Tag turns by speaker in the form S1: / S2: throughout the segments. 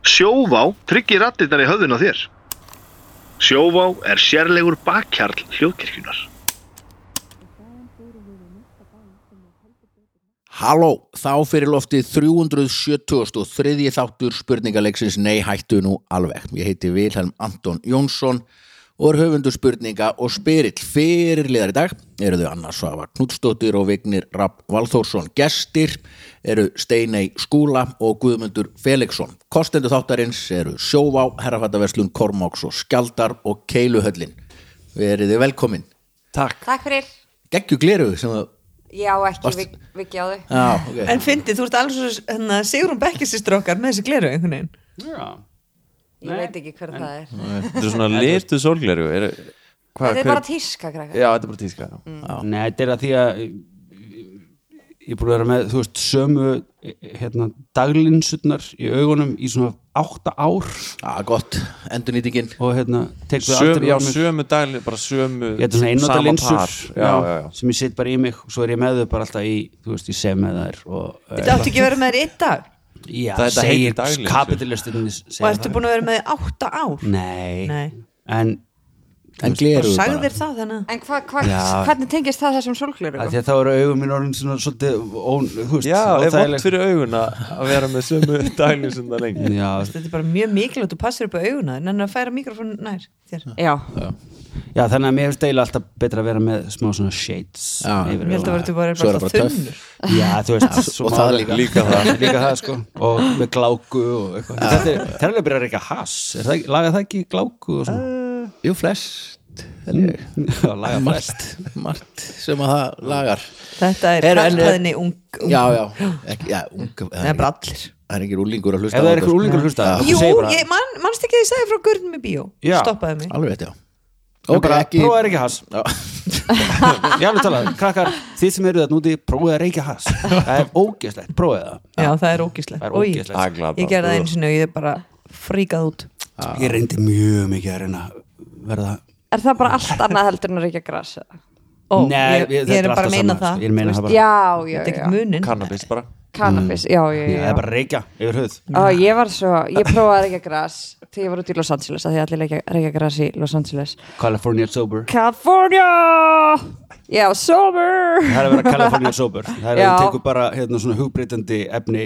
S1: Sjóvá tryggir rattirnar í höfðun á þér. Sjóvá er sérlegur bakkjarl hljóðkirkjunar.
S2: Halló, þá fyrir loftið 373. þáttur spurningaleiksins Nei hættu nú alveg. Ég heiti Vilhelm Anton Jónsson og er höfundur spurninga og spyrill fyrirliðar í dag. Eru þau Anna Svafa Knudstóttir og Vignir Rapp Valþórsson gestir, eru Steinei Skúla og Guðmundur Felixson. Kostendu þáttarins eru Sjóvá, Herrafattaverslun, Kormáks og Skjaldar og Keiluhöllin. Verið þið velkomin.
S3: Takk.
S4: Takk fyrir,
S2: Gekkju gleruðu sem það...
S4: já ekki
S2: Varst-
S4: vik, viki á þau
S2: Já, ok.
S5: En fyndið, þú ert alveg svo hérna, Sigrun Bekkisistur okkar með þessi gleru einhvern veginn
S3: Já.
S4: Ég veit ekki hver það er
S3: Þetta er svona litu sólgleru. Er, hva,
S4: Þetta er bara tíska krakkar
S3: Já, þetta er bara tíska.
S6: Nei, þetta er að því að ég er búin að vera með, þú veist, sömu hérna, daglinsurnar í augunum í svona átta ár
S2: Já, gott, endurnýtingin
S6: og hérna, tek við
S3: Sömu,
S6: aldrei
S3: já,
S6: á mig.
S3: sömu dagli, bara sömu
S6: Ég er svona einnota
S3: sama par.
S6: linsur
S3: Já, já, já.
S6: sem ég set bara í mig og svo er ég með þau bara alltaf í, þú veist, ég seg með þær og eh,
S5: Þetta átti ekki að vera með þér einn dag
S6: já,
S3: Það- þetta heitir
S6: segir
S3: daglinsur.
S6: kapitalistin
S5: og ertu búin að vera með þér átta ár
S6: Nei,
S5: Nei.
S6: en
S2: En gleru bara
S5: og sagði þér það þannig
S4: En hva, hva,
S6: Já.
S4: hvernig tengist það þessum
S6: af
S4: sólgleru?
S6: því að þá eru augun mín orðin svona svolítið, ó, þú veist
S3: Já, er
S6: óþægileg.
S3: vond fyrir auguna að vera með sömu daglinsurnar lengi.
S6: Já,
S5: Þetta er bara mjög mikilvægt og passir upp á auguna þér en að færa mikrofónu nær þér
S4: Já,
S6: Já, þannig að mér finnst eiginlega alltaf betra að vera með smá svona shades
S2: Já.
S6: yfir
S5: Ég held að verður
S6: augunum.
S5: bara,
S2: Svo er
S5: bara,
S2: það
S5: bara
S2: bara töff.
S5: þunnur
S6: Já, þú veist Ah, svo
S2: og
S6: má-
S2: það líka.
S6: Líka það, líka það sko Ah. Og með gláku og eitthvað Þetta er, það er alveg að byrja að reyka hass er það, ekki- Laga það ekki gláku og svona
S2: Jú, flest held ég.
S6: Já, Laga flest
S2: Mm. Margt, margt sem að það lagar
S5: Þetta er
S2: Heyrðu, en-
S5: kallhæðinni ung
S2: Já, já, ekki, já unga,
S5: Nei, bara
S2: það
S5: allir
S2: er ekki úlingur að
S6: Ef
S2: hlusta á
S6: það
S2: þetta,
S6: er eitthvað úlingur
S2: sko.
S6: hlusta
S2: Já,
S5: Jú, ég, man, manst ekki að ég sagði frá gurnum í bíó
S6: Já.
S5: Stoppaði mig
S2: Alveg veit, já
S6: Og bara
S2: ekki
S6: prófaði að reyka hass
S2: Já.
S6: Ég alveg talað, krakkar, þið sem eru þetta núti Prófaði að reyka hass Það er ógeðslegt, prófaði það
S5: Já, það er ógíslegt
S6: Það er
S5: Oj,
S6: ógeðslegt.
S3: Agla bara.
S5: Ég gerði það einu sinni og ég er bara fríkað út
S6: Ég reyndi mjög mikið að reyna að verða
S4: er það bara allt annað heldur en að reykja gras? eða?
S5: Ó,
S6: Nei,
S5: ég, ég
S6: þetta
S5: er bara
S6: alltaf
S5: að meina
S6: sama, sko.
S5: það
S6: Ég er að meina það bara Mm.
S4: Já, já,
S5: Þetta er
S4: já,
S5: ekkert munin
S3: Cannabis bara.
S4: cannabis, já, já,
S6: Já,
S4: já,
S6: Það er bara að reykja yfir höfuð
S4: Ó, ég var svo, ég prófaði að reykja gras þegar ég var út í Los Angeles, að því allir reykja, reykja gras í Los Angeles
S6: California sober
S4: California Já, sober
S6: það er að vera California sober það er
S4: Já.
S6: að þú tekur bara hérna svona hugbreytandi efni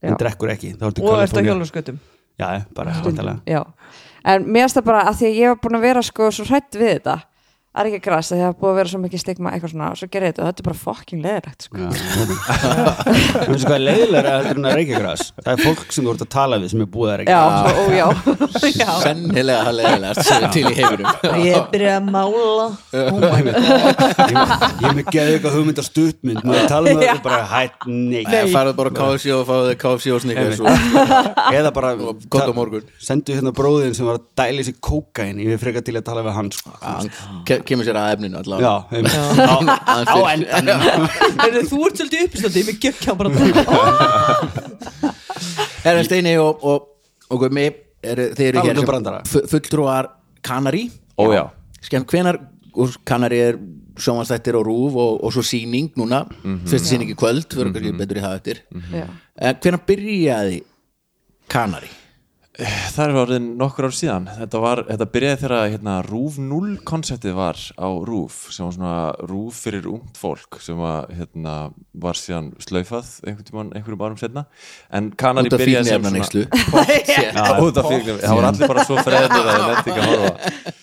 S6: en
S4: Já.
S6: drekkur ekki þá ertu
S5: og ert á
S6: California
S5: hjóluskötum
S6: já, já, bara hættalega
S4: Já, en mér finnst það bara að því að ég var búin að vera sko svo hrætt við þetta það er ekki græs, það er búin að vera svo mikið stigma eitthvað svona og svo gerir þetta og þetta er bara fucking leðilegt sko.
S6: það finnst hvað er leiðilega heldur en að reykja græs það er fólk sem þú ert að tala við sem er búið
S4: Já,
S6: að reykja gras.
S4: og já
S2: Sennilega það leðilegast sem er til í heiminum
S5: ég er byrjað að mála
S6: Oh my God. ég ég er með geðu eitthvað hugmynd á stuttmynd maður tala um það og bara hætt
S2: Nei,
S6: nei
S2: farað bara á KFC og fáið þið KFC og snikkar svo
S6: eða bara
S2: gott á morgun.
S6: sendu hérna bróðin sem var að dæli sér kókain ég er frekar til að tala við hann sko.
S2: Hann ke- kemur sér að efninu
S6: já,
S2: allavega
S6: um,
S2: Aðeins
S6: á
S2: fyrr.
S6: endanum
S5: Heyrðu, þú ert svolítið uppistöndi, ég með gekkja bara að
S2: Herra Steini og, og, og Gumi eru, Þið eru
S6: Talandi
S2: hér
S6: um brandara.
S2: fu- fulltrúar Kanari
S3: Ó, já.
S2: Skemmt hvenar og Kanari er sjónvansþættir og rúf og, og svo síning núna
S3: Mhm.
S2: Fyrsta síning í kvöld, við erum kannski betur í það eftir
S4: Já.
S2: En hvenar byrjaði Kanari?
S3: Það er orðin nokkur ár síðan Þetta, var, þetta byrjaði þegar að, hérna, Rúf 0 konseptið var á Rúf sem var svona Rúf fyrir ungt fólk sem að, hérna, var síðan slaufað einhvern tímann, einhverjum árum setna en Kanari
S2: Út af
S3: byrjaði sem
S2: fíknefnaneyslu.
S3: Já, út af fíknefnaneyslu. það var allir bara svo freðnir að það nefndi ekki að horfa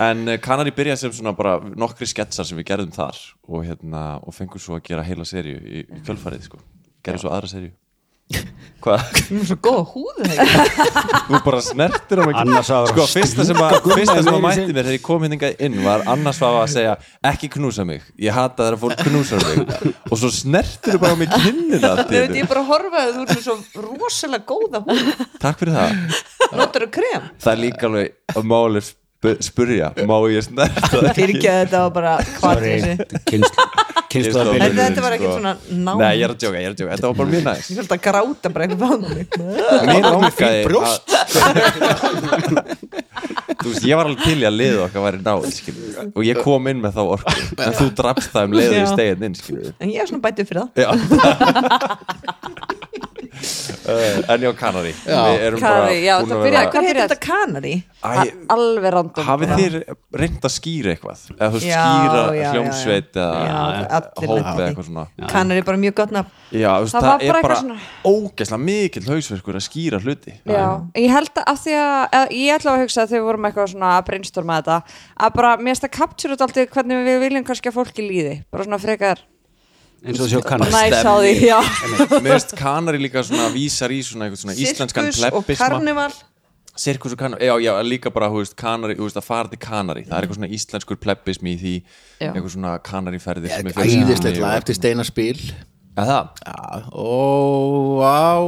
S3: En eh, Kanari byrjaði sem svona bara nokkri sketsar sem við gerðum þar og, hérna, og fengum svo að gera heila serju í, í kjölfarið sko, gerðum svo aðra serju Hvað?
S5: Ég er svo hérna. góð húð þegar.
S3: Þú bara snertir á mig
S6: Anna Svava
S3: Sko, fyrsta sem að, fyrsta sem að
S6: meira í
S3: mætti mér þegar ég kom hinninga inn var Anna Svava að segja ekki knúsa mig, ég hata þegar fólk knúsar mig og svo snertir þú bara á mig kinnina allt
S5: Þau
S3: í
S5: veit
S3: einu.
S5: ég bara að horfa að þú ert með svo rosalega góða húð
S3: Takk fyrir það
S5: Notar þú krem?
S3: Það er líka alveg að máli sp spurja má ég snerta þig?
S5: Fyrirgeðu þetta og bara hvað
S6: Sorry,
S5: þessi
S6: kynslu kynslu að
S5: Þetta-
S6: byrja
S5: þetta var ekkert
S3: sko.
S5: svona námt.
S3: Nei, ég er að djóka, ég er að djóka, þetta var bara mjög næst
S5: Ég fyrir að gráta bara eitthvað á mig
S3: Mér langaði
S6: brjóst.
S3: að- Þú veist, ég var alveg til í að liða okkar væri náð skilur. við. og ég kom inn með þá orku en þú drafst það um leiður í
S5: Já.
S3: stegin inn skilur. við.
S5: En ég er svona bætið fyrir það
S3: Já Eh, en já, Kanari Við erum bara
S4: Kanari, já,
S3: búin
S4: það
S3: að
S4: byrjaði
S3: vera
S5: Hvað heitir
S4: Hvað er-
S5: þetta kanari?
S3: Æ,
S4: A- alveg random sko.
S3: hafið
S4: bara.
S3: þér reynd að skýra eitthvað eða þú veist,
S5: Já,
S3: skýra
S5: já, já,
S3: hljómsveit
S5: já. Já,
S3: eða
S5: allir
S3: hóp
S5: nefna
S3: eða
S5: því.
S3: eitthvað svona
S5: Kanari er bara mjög gott nafn
S3: já, þú veist,
S4: Það
S3: það,
S4: var bara
S3: er
S4: eitthvað
S3: bara
S4: svona-
S3: ógeðslega mikill hausverkur að skýra hluti
S4: Já, ég held að af því að, að ég ætla að hugsa að þegar við vorum eitthvað svona að brainstorma þetta að bara mér finnst að capture út alltaf hvernig við viljum kannski að fólki líði bara svona frekar
S6: eins og sjá kannar
S4: næs á því já.
S3: mér veist Kanari líka svona vísar í svona, eitthvað svona íslenskan
S5: Sirkus og
S3: plebbisma
S5: karnival
S3: sirkus og Kanari, já, já, líka bara þú veist, Kanari, þú veist, að fara til Kanari það er eitthvað svona íslenskur plebbismi í því
S4: Já.
S3: eitthvað svona Kanariferðir sem er fjölskyldunni
S2: Æðislegt
S3: og-
S2: lag eftir Steinar Spil
S3: Já, það,
S2: Já, Ó, á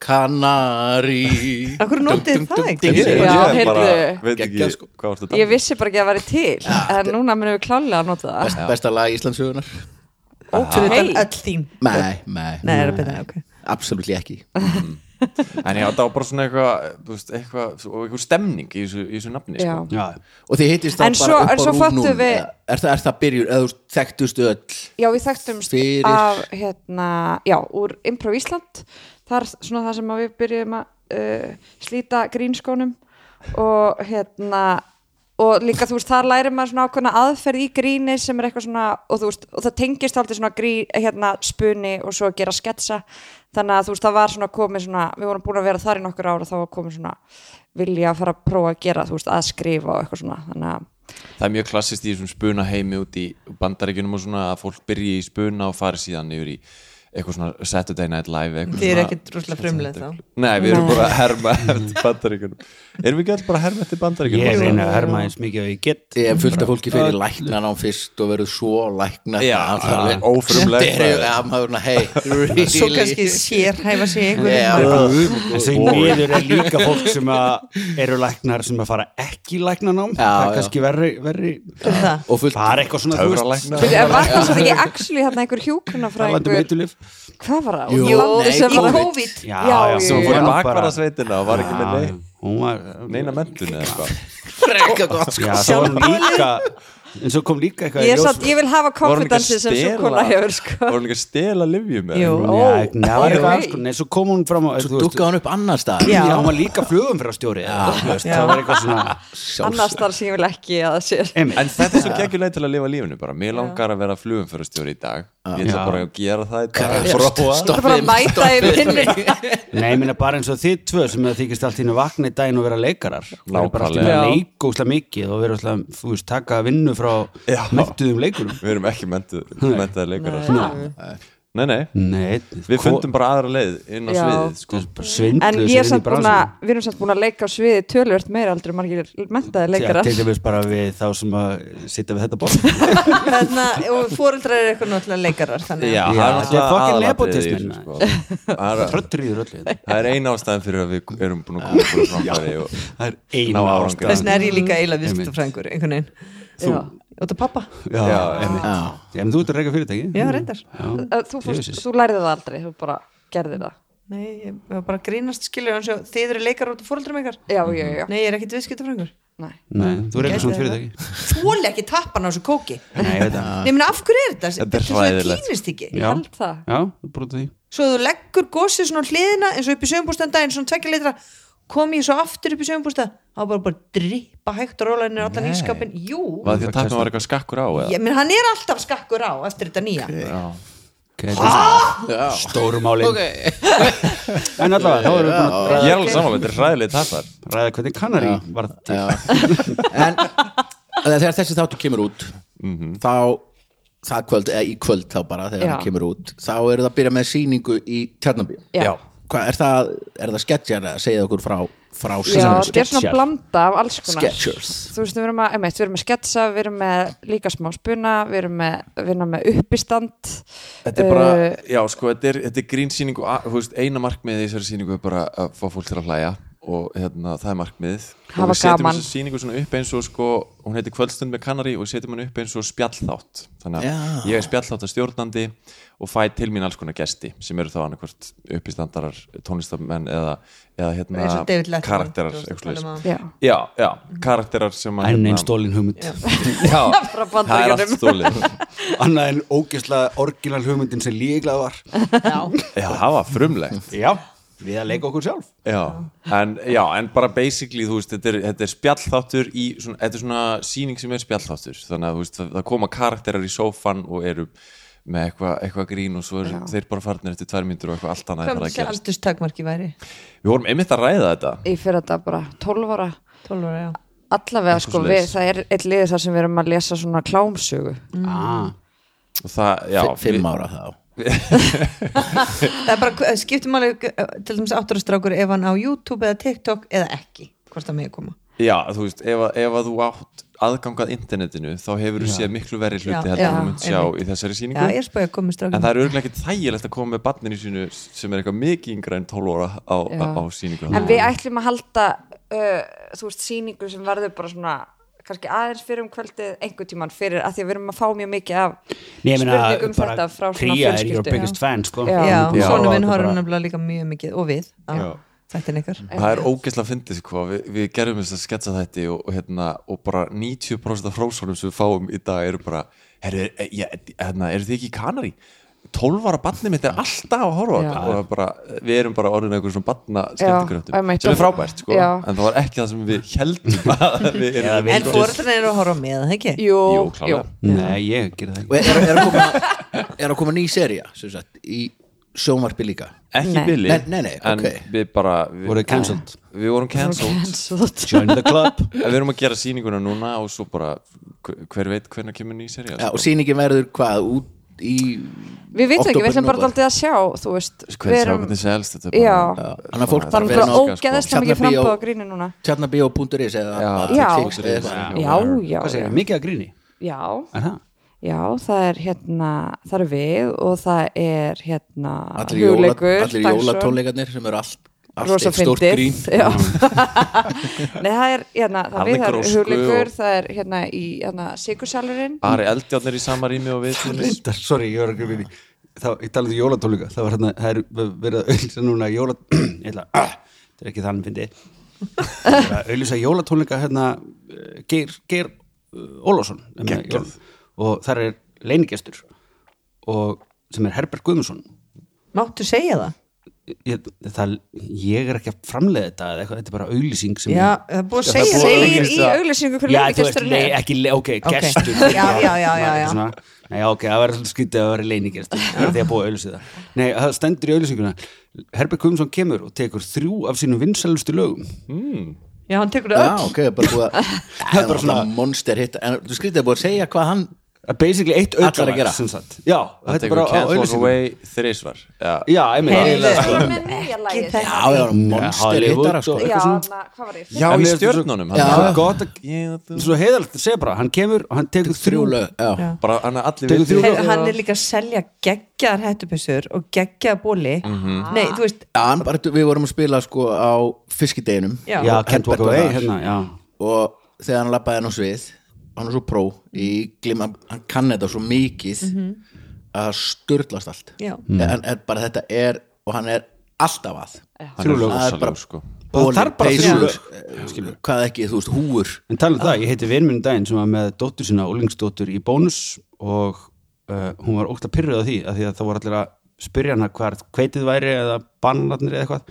S2: Kanari
S5: Akkur notið þið það ekki?
S2: dum,
S3: Ég-
S4: Já,
S3: ég er bara-
S4: heyrðu.
S3: veit ekki
S2: Geggjað, sko.
S3: hvað varstu að
S4: ég
S3: tala um.
S4: vissi bara ekki að væri til en núna munum við klálega að nota það
S2: Best, Besta lag Íslandsögunar
S5: Ótrúið
S4: Hey.
S5: þetta öll þín
S2: Nei, nei,
S5: Nei, er að byrja, ok
S2: absolutt ekki
S3: en já, það var bara svona eitthvað þú veist, eitthvað, og eitthvað stemning í þessu, í þessu nafni
S4: já.
S3: sko.
S6: Já,
S2: Og þið hittist
S4: En
S2: það
S4: svo-
S2: bara upp
S4: en
S2: á
S4: svo
S2: rúm núna
S4: föttum við-
S2: eða? er, það, er það byrjun, eða þú veist, þekktustu öll
S4: já, við þekktumst
S2: Fyrir-
S4: af hérna, já, úr Improv Ísland það er svona það sem að við byrjum að uh, slíta grínskónum og hérna og líka þú veist, þar lærir maður svona ákveðna aðferð í gríni sem er eitthvað svona og þú veist, og það tengist aldrei svona grí, hérna, spuni og svo gera sketsa þannig að þú veist, það var svona komið svona við vorum búin að vera þar í nokkur ára og þá var komið svona vilja að fara að prófa að gera þú veist, að skrifa og eitthvað svona þannig að
S3: það er mjög klassist í þessum spuna heimi út í bandaríkjunum og svona að fólk byrji í spuna og fari síðan yfir í eitthvað svona Saturday Night Live eitthvað
S5: Þið eru
S3: svona-
S5: ekkit rosalega frumleg þá
S3: Nei, við erum bara að herma eftir bandaríkjunum Erum við ekki alls bara að herma eftir bandaríkjunum?
S6: ég reyna að herma eins mikið og ég get
S2: Ég er fullt af fólki fyrir læknan á fyrst og verður svo læknan
S3: Já, ófrumlegt.
S2: Já, maður svona, hey, really
S5: Svo kannski sérhæfa sig
S2: Já.
S5: einhvern
S6: en sem miður er líka fólk sem að eru læknar sem að fara ekki í læknanám það
S2: já.
S6: er kannski verri, verri
S5: veginn það
S2: Og fullt
S6: bara eitthvað svona þú veist,
S3: Töfralæknar.
S4: Byrju, en var það svo ekki actually þarna einhver
S6: talandi um
S4: hjúkrunafræðingur
S6: eitulif
S4: hvað var það?
S2: Jú,
S4: Úr landi
S2: nei,
S4: sem
S5: Í
S4: var-
S5: COVID
S6: já,
S4: Já,
S6: já,
S4: já,
S3: Sem
S4: já.
S3: fór í
S6: Bara-
S3: bakvarðasveitina og var ekki með
S6: Já,
S3: neinn
S6: hún var
S3: Neina mentun eða eitthvað
S2: frekka gott sko
S6: já, svo var hún líka en svo kom líka eitthvað í
S4: ég,
S6: ljós-
S4: satt, ég vil hafa
S3: Var hún ekki að
S4: konfidansi sem svo kona
S3: stela-
S4: hefur sko.
S3: Var hún ekki að stela livjum eða?
S5: Jú.
S6: Já,
S4: Ó,
S6: nei, það var eitthvað
S4: ok.
S6: alls konar. Nei, svo kom hún fram og
S2: Svo dukkaði hann upp annar stað
S5: Já.
S6: Já, hún var líka flugum fyrir á stjóri Það var eitthvað svona
S4: annars þar sem ég vil ekki að það sé
S6: einmitt.
S3: En þetta er svo geggjulega til að lifa lífinu bara Mér langar að vera flugumförastjóri í dag Ég ætla
S6: Já.
S3: bara að gera það í dag Prófa.
S4: það er bara að mæta í minni
S6: Nei, ég minna bara eins og þið tvö sem það þykist allt í hennu vakna í daginn og vera leikarar Það er bara allt í hennu
S3: Nákvæmlega.
S6: að leika úslega mikið og vera úslega, þú veist, taka vinnu frá
S3: Já.
S6: mættuðum leikurum
S3: Við erum ekki mentaði leikarar sko. Nei, nei
S6: Nei, sko.
S3: Við fundum bara aðra leið inn á
S4: Já.
S3: sviðið sko.
S6: svindlu
S4: en ég er samt búin að við erum samt búin að leika á sviði tölvört meira aldrei en margir mentaði leikarar
S6: Til dæmis bara við þá sem að sitja við þetta borð
S5: Þannig að fóreldrar eru eitthvað náttúrulega leikarar Þannig
S3: Já,
S5: að
S3: það er
S6: þetta er
S3: náttúrulega aðalatriðið í
S6: fucking nepotisminn,
S3: þessu, sko. Það er-
S6: Tröttriður öllu hérna. þetta.
S3: það er eina ástæðan fyrir að við erum búin að koma okkur á framfæri og
S6: Það er
S3: Ná
S6: einu
S3: árangri.
S6: ástæðan.
S5: þess vegna er ég líka eiginlega viðskiptafræðingur einhvern veginn
S4: Þú?
S5: Út af pappa
S6: Já,
S3: Já,
S6: einmitt.
S2: Já,
S6: Já, en þú ert að reyka fyrirtæki
S5: Já, reyndar.
S6: Já.
S4: Ö, þú, fórst,
S6: Jesus.
S4: þú lærði það aldrei, þú bara gerði það
S5: Nei, ég var bara að grínast skilur hans og þið eru leikar út af fóreldrum ykkar
S4: já, já, já, já.
S5: Nei, ég er ekkit viðskiptafræðingur
S4: Nei.
S6: Nei, þú reyka svona
S5: Gæti
S6: fyrirtæki
S5: Þóli ekki tappan á þessu kóki
S6: Nei, ég veit það
S5: Nei, menn, af hverju er þetta?
S3: Þetta er
S5: Þú- þú
S3: hræðilegt.
S5: týnist ekki
S4: ég
S6: Já.
S4: held það
S6: Já, þú brútið því
S5: Svo þú leggur gósið svona á hliðina eins og upp í sögumbústæðan daginn, svona tvekja leitra kom ég svo aftur upp í sögumbústæðan þá var bara bara drippa hægt og róla henni allan
S3: Nei.
S5: ískapin, jú
S3: Var því að tapna var eitthvað skakkur á eða?
S5: ég menn hann er alltaf skakkur á eftir þetta nýja
S6: okay, Stóru málin En allavega, þá erum við búin að
S3: Ég er alveg saman, þetta er hræðileg tapar
S6: ræða hvernig Kanari var til
S2: en þegar þessi þáttu kemur út
S4: Mhm.
S2: þá það kvöld, eða í kvöld þá bara þegar
S4: Já.
S2: það kemur út þá eru það að byrja með sýningu í Tjarnabíu
S4: Já. Já.
S2: Hvað, er það, er það sketchjar að segja okkur frá, frá
S4: Já,
S2: sýningunni?
S4: þetta er svona
S6: sketsjar.
S4: blanda af alls konar
S2: Sketchers.
S4: Þú veist, við erum, að, einmitt, við erum með sketsa, við erum með líka smá spuna, við erum með, við erum með uppistand
S3: Þetta er bara,
S4: Eh,
S3: já sko, þetta er, þetta er grínsýning og að- þú veist, eina markmiðið í þessari sýningu er bara að fá fólk til að hlæja og hérna, það er markmiðið og
S4: Hafa
S3: við setjum
S4: gaman.
S3: þessa sýningu svona upp eins og sko, hún heitir Kvöldstund með Kanari og við setjum hann upp eins og spjallþátt þannig að
S2: Já.
S3: ég er spjallþátt stjórnandi og fæ til mín alls konar gesti sem eru þá annarkvort uppistandarar tónlistamenn eða, eða
S5: eins og
S3: hérna,
S5: David Letterman
S3: karakterar
S5: þú veist,
S3: eitthvað
S5: tala um
S3: svoleiðis.
S5: að-
S4: Já,
S3: já, já, karakterar sem að
S6: Enn
S3: hérna-
S6: einn stólin hugmynd
S3: Já,
S4: Frá
S3: það er allt
S4: Bandaríkjunum.
S3: stólið
S6: Annað en ógislega orginal hugmyndin sem líklað var
S3: Já, það var frumlegt
S6: Já við að leika okkur sjálf
S3: Já, en, já, en bara basically þú veist, þetta er, þetta er spjallþáttur í, svona, þetta er svona síning sem er spjallþáttur þannig að þú veist, það, það koma karakterar í sófan og eru með eitthvað eitthva grín og svo er, þeir bara farnir eftir tvær myndur og eitthvað allt annað er
S5: Hvað
S3: farið að
S5: sem
S3: gerast
S5: aldurstakmarki væri
S3: Við vorum einmitt að ræða þetta
S4: ég fyrir þetta bara 12 ára
S5: 12 ára, já
S4: allavega sko við,
S3: svoleiðis.
S4: það er eitt liðið þar sem við erum að lesa svona klámsögu
S6: ah.
S3: og það, já,
S2: fimm ára þá
S5: Það er bara, eh, skiptum alveg til dæmis átturastrákur ef hann á YouTube eða TikTok eða ekki, hvort það með koma
S3: já, þú veist, ef, að- ef að þú átt aðgangað internetinu þá hefur þú séð miklu verri hluti
S5: Já,
S3: heldur en
S5: já,
S3: þú munt sjá
S5: einmitt.
S3: í þessari
S5: Já,
S3: síningu
S5: ég er spöðið að koma með
S3: En það
S5: strákur
S3: er örgulega ekkert þægilegt að koma með barninu sínu sem er eitthvað mikið yngra en 12 ára á, á, á síningu
S4: en við ætlum að halda uh, þú veist síningu sem verður bara svona kannski aðeins fyrir um kvöldið einhver tíman fyrir að því að við erum að fá mjög mikið af
S6: Nei, ég meina,
S4: spurningum
S6: bara
S4: um þetta frá svona
S6: Kría er your
S4: fjölskyldu
S6: biggest fan sko.
S4: Já.
S5: Já,
S3: Já.
S5: svona minn
S6: Þetta
S5: horfum
S6: bara-
S5: nefnilega líka mjög mikið og við,
S3: Já.
S5: þetta er neikar
S3: Það er ógeðslega fyndið sko, við, við gerum þess að sketsa þætti og, og, hérna, og bara 90% af hrósónum sem við fáum í dag eru bara Herru, e- ég- hérna, eru þið ekki í kanari? 12 ára barnið mitt er alltaf að horfa á
S4: Já.
S3: þetta og það er bara, við erum bara orðin einhver svona barna
S4: Já, einmitt.
S3: skemmtikröftum sem er frábært sko,
S4: Já.
S3: en það var ekki það sem við heldum að við
S6: Eða
S3: erum
S6: við-
S5: En fóreldrarna eru að horfa með, það ekki?
S4: jú,
S3: Jú, klárlega.
S4: jú.
S6: Nei, ég gerði það
S2: og
S6: ekki
S2: er, er, er, að koma, er að koma ný seria sem sagt, í sjónvarpi líka
S3: ekki
S4: Nei.
S3: billi
S2: Nei, nei, nei,
S3: en
S2: ok.
S3: við bara við,
S6: Voruð cancelled.
S3: við vorum cancelled
S6: Join the club
S3: En við erum að gera sýninguna núna og svo bara hver hver veit hvernig kemur ný sko. serið
S2: ja, og sýningin verður hvað út í
S4: við veitum ekki, við ætlum bara
S2: Október,
S4: daldið að sjá þú veist,
S3: hvernig
S4: við
S3: sjá Sko,
S4: erum
S3: hvernig selst þetta
S4: Já.
S2: Þannig að fólk
S4: það er
S2: Við erum
S4: bara sko.
S2: náttúrulega,
S4: ógeðslega mikið
S2: Tjarnarbíó-
S4: frambóð á gríni núna
S2: tjarnabíó.is eða
S4: Já.
S2: Netflix eða eitthvað.
S4: já, já,
S6: Hvað segir,
S4: já,
S6: mikið að gríni?
S4: já
S6: Er það?
S4: Já, það er hérna, það er við og það er hérna
S2: allir, jóla,
S4: Hugleikur,
S2: allir
S4: Dagsson,
S2: jólatónleikarnir sem eru allt, allt
S4: rosa
S2: eitt stórt
S4: fyndið.
S2: grín
S4: Já. Nei, það er hérna, það er
S3: Harði
S4: við, það er
S3: grósku
S4: hugleikur,
S3: og-
S4: það er hérna í hérna, sigursalurinn
S3: Ari Eldjárn er í sama rými og við til dæmis.
S6: Reyndar, sorry, ég var að gríma í því. þá, ég talaði um jólatólika það var hérna, það er verið að auðlýsa núna jóla, ég ætla, ah, þetta er ekki þannig fyndi það er verið að auðlýsa jólatólika hérna, eh, Geir, Geir uh, Ólásson og þar er leinigestur og sem er Herbert Guðmundsson
S5: Máttu segja það?
S6: ég, það, ég er ekki að framleiða þetta eða eitthvað, þetta er bara auðlýsing sem
S5: Já,
S6: er-
S5: það er búið að
S6: Já, það
S5: segja það
S6: er búið að
S4: segir í
S6: auglýsa-
S4: auglýsingu hvernig
S6: Já, þú veist,
S4: leinigesturinn
S6: nei,
S4: er.
S6: ekki, le- ok, gestur
S5: Já, já, já, já, já.
S6: Eitthvað svona. Nei, ok, það verður svolítið skrítið að það verður leinigestur því að búið að auðlýsa það Nei, það stendur í auðlýsinguna Herbert Kumsson kemur og tekur þrjú af sínum vinsælustu lögum
S5: Já, hann tekur það
S2: Já,
S5: öll
S2: ok, bara búið að Það er bara svona monster hitt En þú skrítið að búið að segja hvað hann
S6: Að Basically eitt
S2: Allar að
S6: auðlýsing
S2: gera.
S6: Já,
S3: Það
S6: þetta er
S3: tekur
S6: bara á
S3: Can't Walk
S6: auðlýsinguna
S3: Away þrísvar Já,
S6: Já, einmitt
S5: Heyrðu.
S6: sko.
S4: Ég með nýja lagið.
S5: það.
S2: Já, já, monster
S6: Hollywood
S2: hittara sko
S6: og-
S4: Já,
S6: eitthvað svona.
S4: na, hvað var ég?
S3: já
S6: En
S3: í
S6: mér finnst
S3: stjörnunum
S6: svo-
S3: hann-
S6: Það
S3: hann-
S6: er gott að
S3: Ég- þú-
S6: Svo heiðalegt að segja bara, hann kemur og hann tekur
S2: Þrjú
S6: þrjú
S2: lög, já
S3: Bara hann er allir
S6: Tekur
S3: viti.
S6: þrjú
S5: Hey, hann er líka að selja geggjar hættupissur og geggjar bóli nei, þú veist,
S2: Já, hann bara, við vorum að spila sko á fiskideginum
S5: já,
S6: Já, Can't
S2: Herbert var
S6: Walk Away
S2: þar.
S6: hérna, já
S2: og þegar hann lappaði hann á svið hann er svo pró í glima, hann kann þetta svo mikið að það sturlast allt
S5: Já.
S6: Mm.
S2: en, en bara þetta er og hann er alltaf að
S3: Hann er
S6: Þrjú lög.
S2: bara-
S3: rosalegur sko
S6: Það þarf bara þrjú
S2: peysur,
S6: lög.
S2: eh, hvað ekki, þú veist, húur
S6: En tala um það, ég heiti vinminn daginn sem var með dóttur sína, ólingsdóttur í bónus og uh, hún var ótt að pyrruð á því að því að það voru allir að spyrja hana hvað kveitið væri eða bananarnir eða eitthvað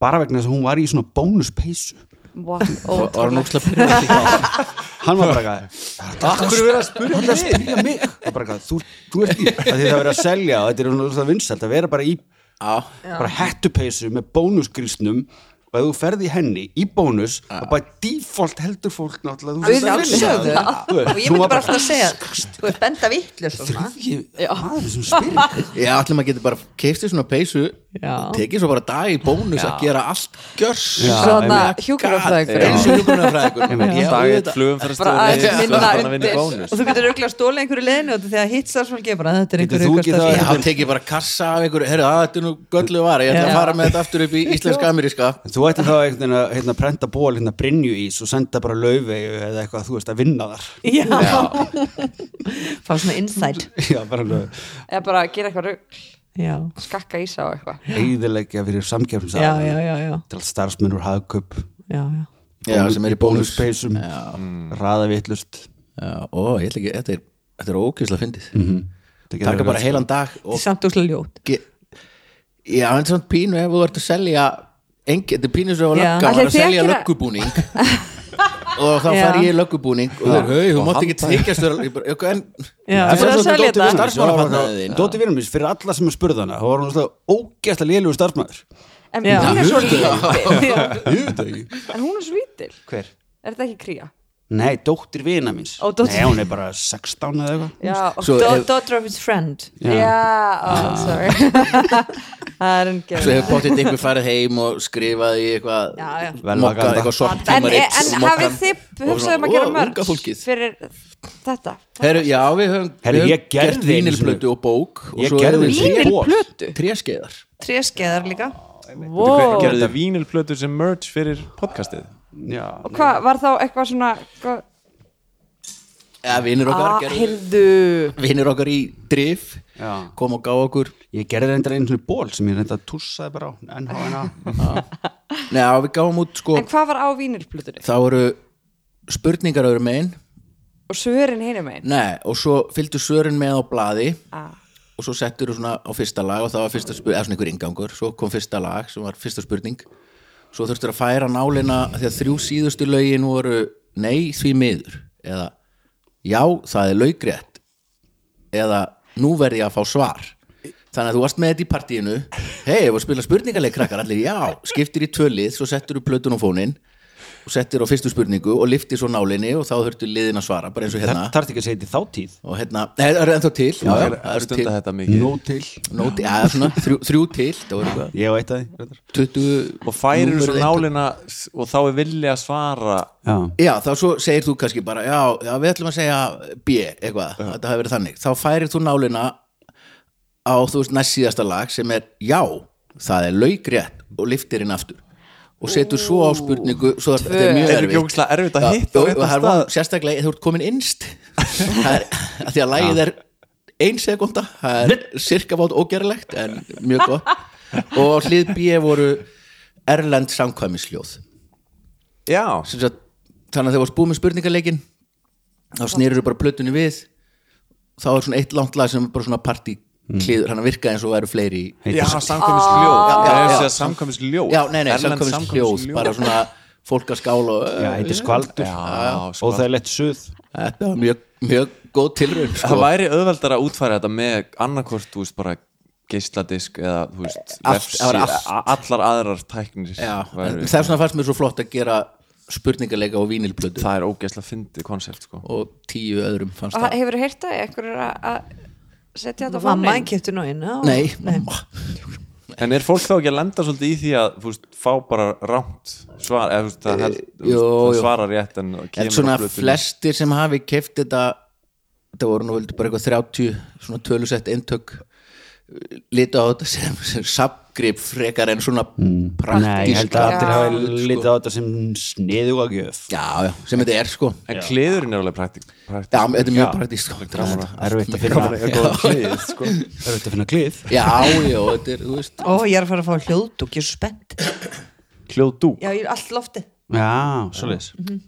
S6: bara vegna þess að hún var í svona bónuspeysu
S4: What?
S2: og var hann ókslega pyrrandi
S6: hann var bara eitthvað Akkur er að spyrja mig, að spyrja mig. Og bara, eitthvað, þú, þú ert í að því það verið að selja og þetta er svona vinsælt að vera bara í bara hettupeysu með bónusgrísnum og ef þú ferði í henni í bónus og bara default heldur fólk náttúrulega þú
S5: Við
S6: sért að vinna.
S5: sjálfsögðu
S6: Þú veist,
S5: og ég
S6: hún
S5: myndi
S6: var
S5: bara alltaf að segja þú er benda vittlust svona
S6: þriðji maður sem spyr
S2: Já, allir maður getur bara keifti svona peysu
S5: Já.
S2: tekið svo bara dag í bónus að gera allt gjörs
S4: Svona hjúkrunarfræðingur.
S2: eins og hjúkrunarfræðingur
S3: Dag eitt flugum fyrir stjórnum
S4: minna
S3: Þannig að vinna í
S4: undir. Sko.
S3: bónus
S5: og þú getur auðvitað að stóla einhverju leiðinu og þegar hitt starfsfólki er bara þetta er
S6: Getur
S5: einhverju auka
S6: þú ekki það-
S5: starfsfólki
S2: Já, tekið bara kassa af einhverju, herru, að þetta er nú göllu var ég ætla að
S5: Já.
S2: fara með þetta aftur upp í íslenska-ameríska
S6: En þú ætti þá einhvern veginn að hérna, prenta ból hérna brinju ís og senda bara laufeyju eða eitthvað þú veist að vinna þar
S5: já fá svona insight
S6: já, bara alveg
S4: Eða bara gera eitthvað rugl,
S5: já,
S4: skakka ísa og eitthvað
S6: eigðilegja fyrir
S5: já, já,
S6: samkjöfnum
S5: já, já,
S6: til starfsmenn úr hagkaup
S5: já, já.
S2: Já, sem er í bónus
S6: bónuspeysum raða vitlust
S2: Já, ó, ég ætla ekki, þetta er, Mhm. þetta er ókjöfslega fyndið Taka bara heilan dag og
S5: samt úslega ljót
S2: ge- Já, en samt pínu ef þú ert að selja engi, þetta er pínu sem var
S5: Já.
S2: lögga
S4: Ætli
S2: var að
S4: þið
S2: selja
S4: ekki að-
S2: löggubúning og þá
S5: Já.
S2: fær ég löggubúning og þeir, hei, þú mátt ekki þykjast vera ég bara, "Ok, en
S5: Já,
S2: Þú færð
S5: þú ert
S2: svolítið
S5: að selja
S2: dótið
S5: þetta.
S2: við starfsmannapartnaðinn.
S6: Dóti vinnum fyrir alla sem er spurð hana það var hún alltaf ógæslega lélugur starfsmæður
S4: en
S5: Já.
S4: hún er svo lítil
S6: ég veit það ekki
S4: en hún er svo lítil,
S6: hver?
S4: er þetta ekki kría?
S6: Nei, dóttir vina míns
S5: Ó, dóttir-
S6: Nei, hún er bara 16 eða eitthvað
S4: já, og
S2: Svo
S5: Do-
S2: hef-
S5: Daughter of his friend
S4: Já, oh, sorry Það er enn
S2: svo
S4: gefið
S2: hefur bóttið einhver farið heim og skrifaði í eitthvað
S5: Já, já.
S2: mokkað eitthvað sort
S4: En,
S2: tímarit
S4: en
S2: og mokkað-
S4: hafið þið
S2: og
S4: hugsað um
S2: svona,
S4: að gera
S2: "Ó, unga
S4: mörg
S2: fólkið."
S4: fyrir þetta?
S2: Herru, já, við höfum,
S6: Herru,
S2: við
S6: ég
S2: höfum
S6: gerði
S2: gert
S6: einu sinni-
S2: vínilblötu og bók og
S6: Ég
S2: svo
S6: gerði
S2: höfum við
S6: einu sinni
S2: tré-
S6: bók.
S4: Vínilplötu?
S2: tréskeiðar
S5: Treskeiðar líka
S4: Wow.
S3: gerðu þið vínilplötu sem merch fyrir podcastið
S6: Já,
S4: Og hvað, var þá eitthvað svona hvað-
S2: ja, vinnir okkar,
S4: Ah,
S2: gerðu-
S4: heyrðu
S2: vinir okkar í drif
S6: Já.
S2: kom og gá okkur
S6: Ég gerði reyndar einu svona ból sem ég reynda að tússaði bara á NHNA
S2: Neða, við gáum út sko
S4: En hvað var á vínilplutunni?
S2: þá eru spurningar öðrum megin
S4: Og svörin hinum einn?
S2: Nei, og svo fylgdu svörin með á blaði
S4: Ah.
S2: og svo settur þú svona á fyrsta lag og það var fyrsta spurning, eða svona einhver ingangur svo kom fyrsta lag sem var fyrsta spurning svo þurftur að færa nálina því að þrjú síðustu lögin voru nei því miður eða já það er laugrétt eða nú verð ég að fá svar þannig að þú varst með þetta í partíinu hei, ef að spila spurningaleik krakkar allir já, skiptir í tvölið, svo settur þú plötun á fóninn og settir á fyrstu spurningu og liftir svo nálinni og þá þurftu liðin að svara bara eins og hérna
S6: Þarf ekki að segja þetta í þá tíð
S2: og hérna, nei, það eru ennþá til já, já, það eru til,
S3: stunda þetta mikið
S6: Nó til
S2: nóti, ja, svona, þrjú, þrjú til það voru eitthvað,
S6: Ég veit það reyndar.
S2: 20
S3: og færir
S2: númer
S3: svo
S2: eitt.
S3: nálina og þá er villi að svara
S6: Já,
S2: já, þá svo segir þú kannski bara já, já við ætlum að segja B eitthvað, þetta hafi verið þannig, þá færir þú nálina á þú veist næst síðasta lag sem er já, það er laugrétt og liftir inn aftur og setur svo á spurningu svo það, þetta er mjög
S3: er
S2: erfitt
S3: ekki ógustlega erfitt að
S2: Já,
S3: hitta á
S2: og-
S3: réttan
S2: og það er
S3: stað?
S2: von- sérstaklega, þú ert komin innst það er, að því að lagið er ein sekunda, það er cirka vót ógerlegt en mjög gott og á hlið B voru erlend samkvæmisljóð
S3: já,
S2: Sem sagt, þannig að þegar varst búið með spurningaleikin þá snýrur bara plötunni við þá er svona eitt langt lag sem er bara svona partí kliður, hann virkaði eins og væru fleiri í-
S3: já samkvæmisljóð
S4: Ah.
S2: Já,
S3: það
S2: já,
S3: er
S2: já.
S3: að segja samkvæmisljóð
S2: já, nei, nei,
S3: Erlend
S2: samkvæmisljóð bara svona fólk að skála og, eh,
S6: já heitir skvaldur
S3: já, sko
S6: Og það er lett suð
S2: þetta var mjög, mjög góð tilraun sko.
S3: það væri auðveldar að útfæra þetta með annarkort, þú veist, bara geisladisk eða, þú veist,
S2: Allt,
S3: vefsí-
S2: það var allt.
S3: a- allar aðrar tæknir
S2: Já, en
S3: væru,
S2: þess vegna fannst mér svo flott að gera spurningaleika og vínilplötu
S3: það er ógeðslega fyndið konsept, sko
S2: og tíu öðrum fannst
S4: Og
S2: það
S4: hefur þú heyrt það? Ekkur er að- að setja þetta á
S5: Mamma
S4: fónin?
S5: kipti nú inn já.
S2: Nei,
S3: en er fólk þá ekki að lenda svolítið í því að, þú veist, fá bara rámt svar, eða, þú veist, það, held, þú veist,
S2: Eh, Jú,
S3: það
S2: jú.
S3: svarar rétt en það kemur
S2: en svona
S3: á plötuna.
S2: flestir sem hafi keft þetta þetta voru nú vildi bara eitthvað 30 svona tölusett eintök lita á þetta sem, sem sapgrip frekar en svona
S6: Nei, ég held
S2: praktíska
S6: að allir hafi
S2: Sko.
S6: litið á þetta sem sniðuga gjöf
S2: Já, já, sem þetta er sko
S3: en kliðurinn er alveg praktík praktík.
S2: Já, þetta er mjög
S6: Já.
S2: praktísk sko.
S6: Erfitt að finna
S3: klið, sko.
S6: Erfitt að finna klið
S2: Já, já, þetta er, þú veist
S5: Ó, ég er að fara að fá hljóðdúk, ég er svo spennt
S3: hljóðdú
S5: Já, ég er allt lofti
S6: Já, svoleiðis
S5: Mhm.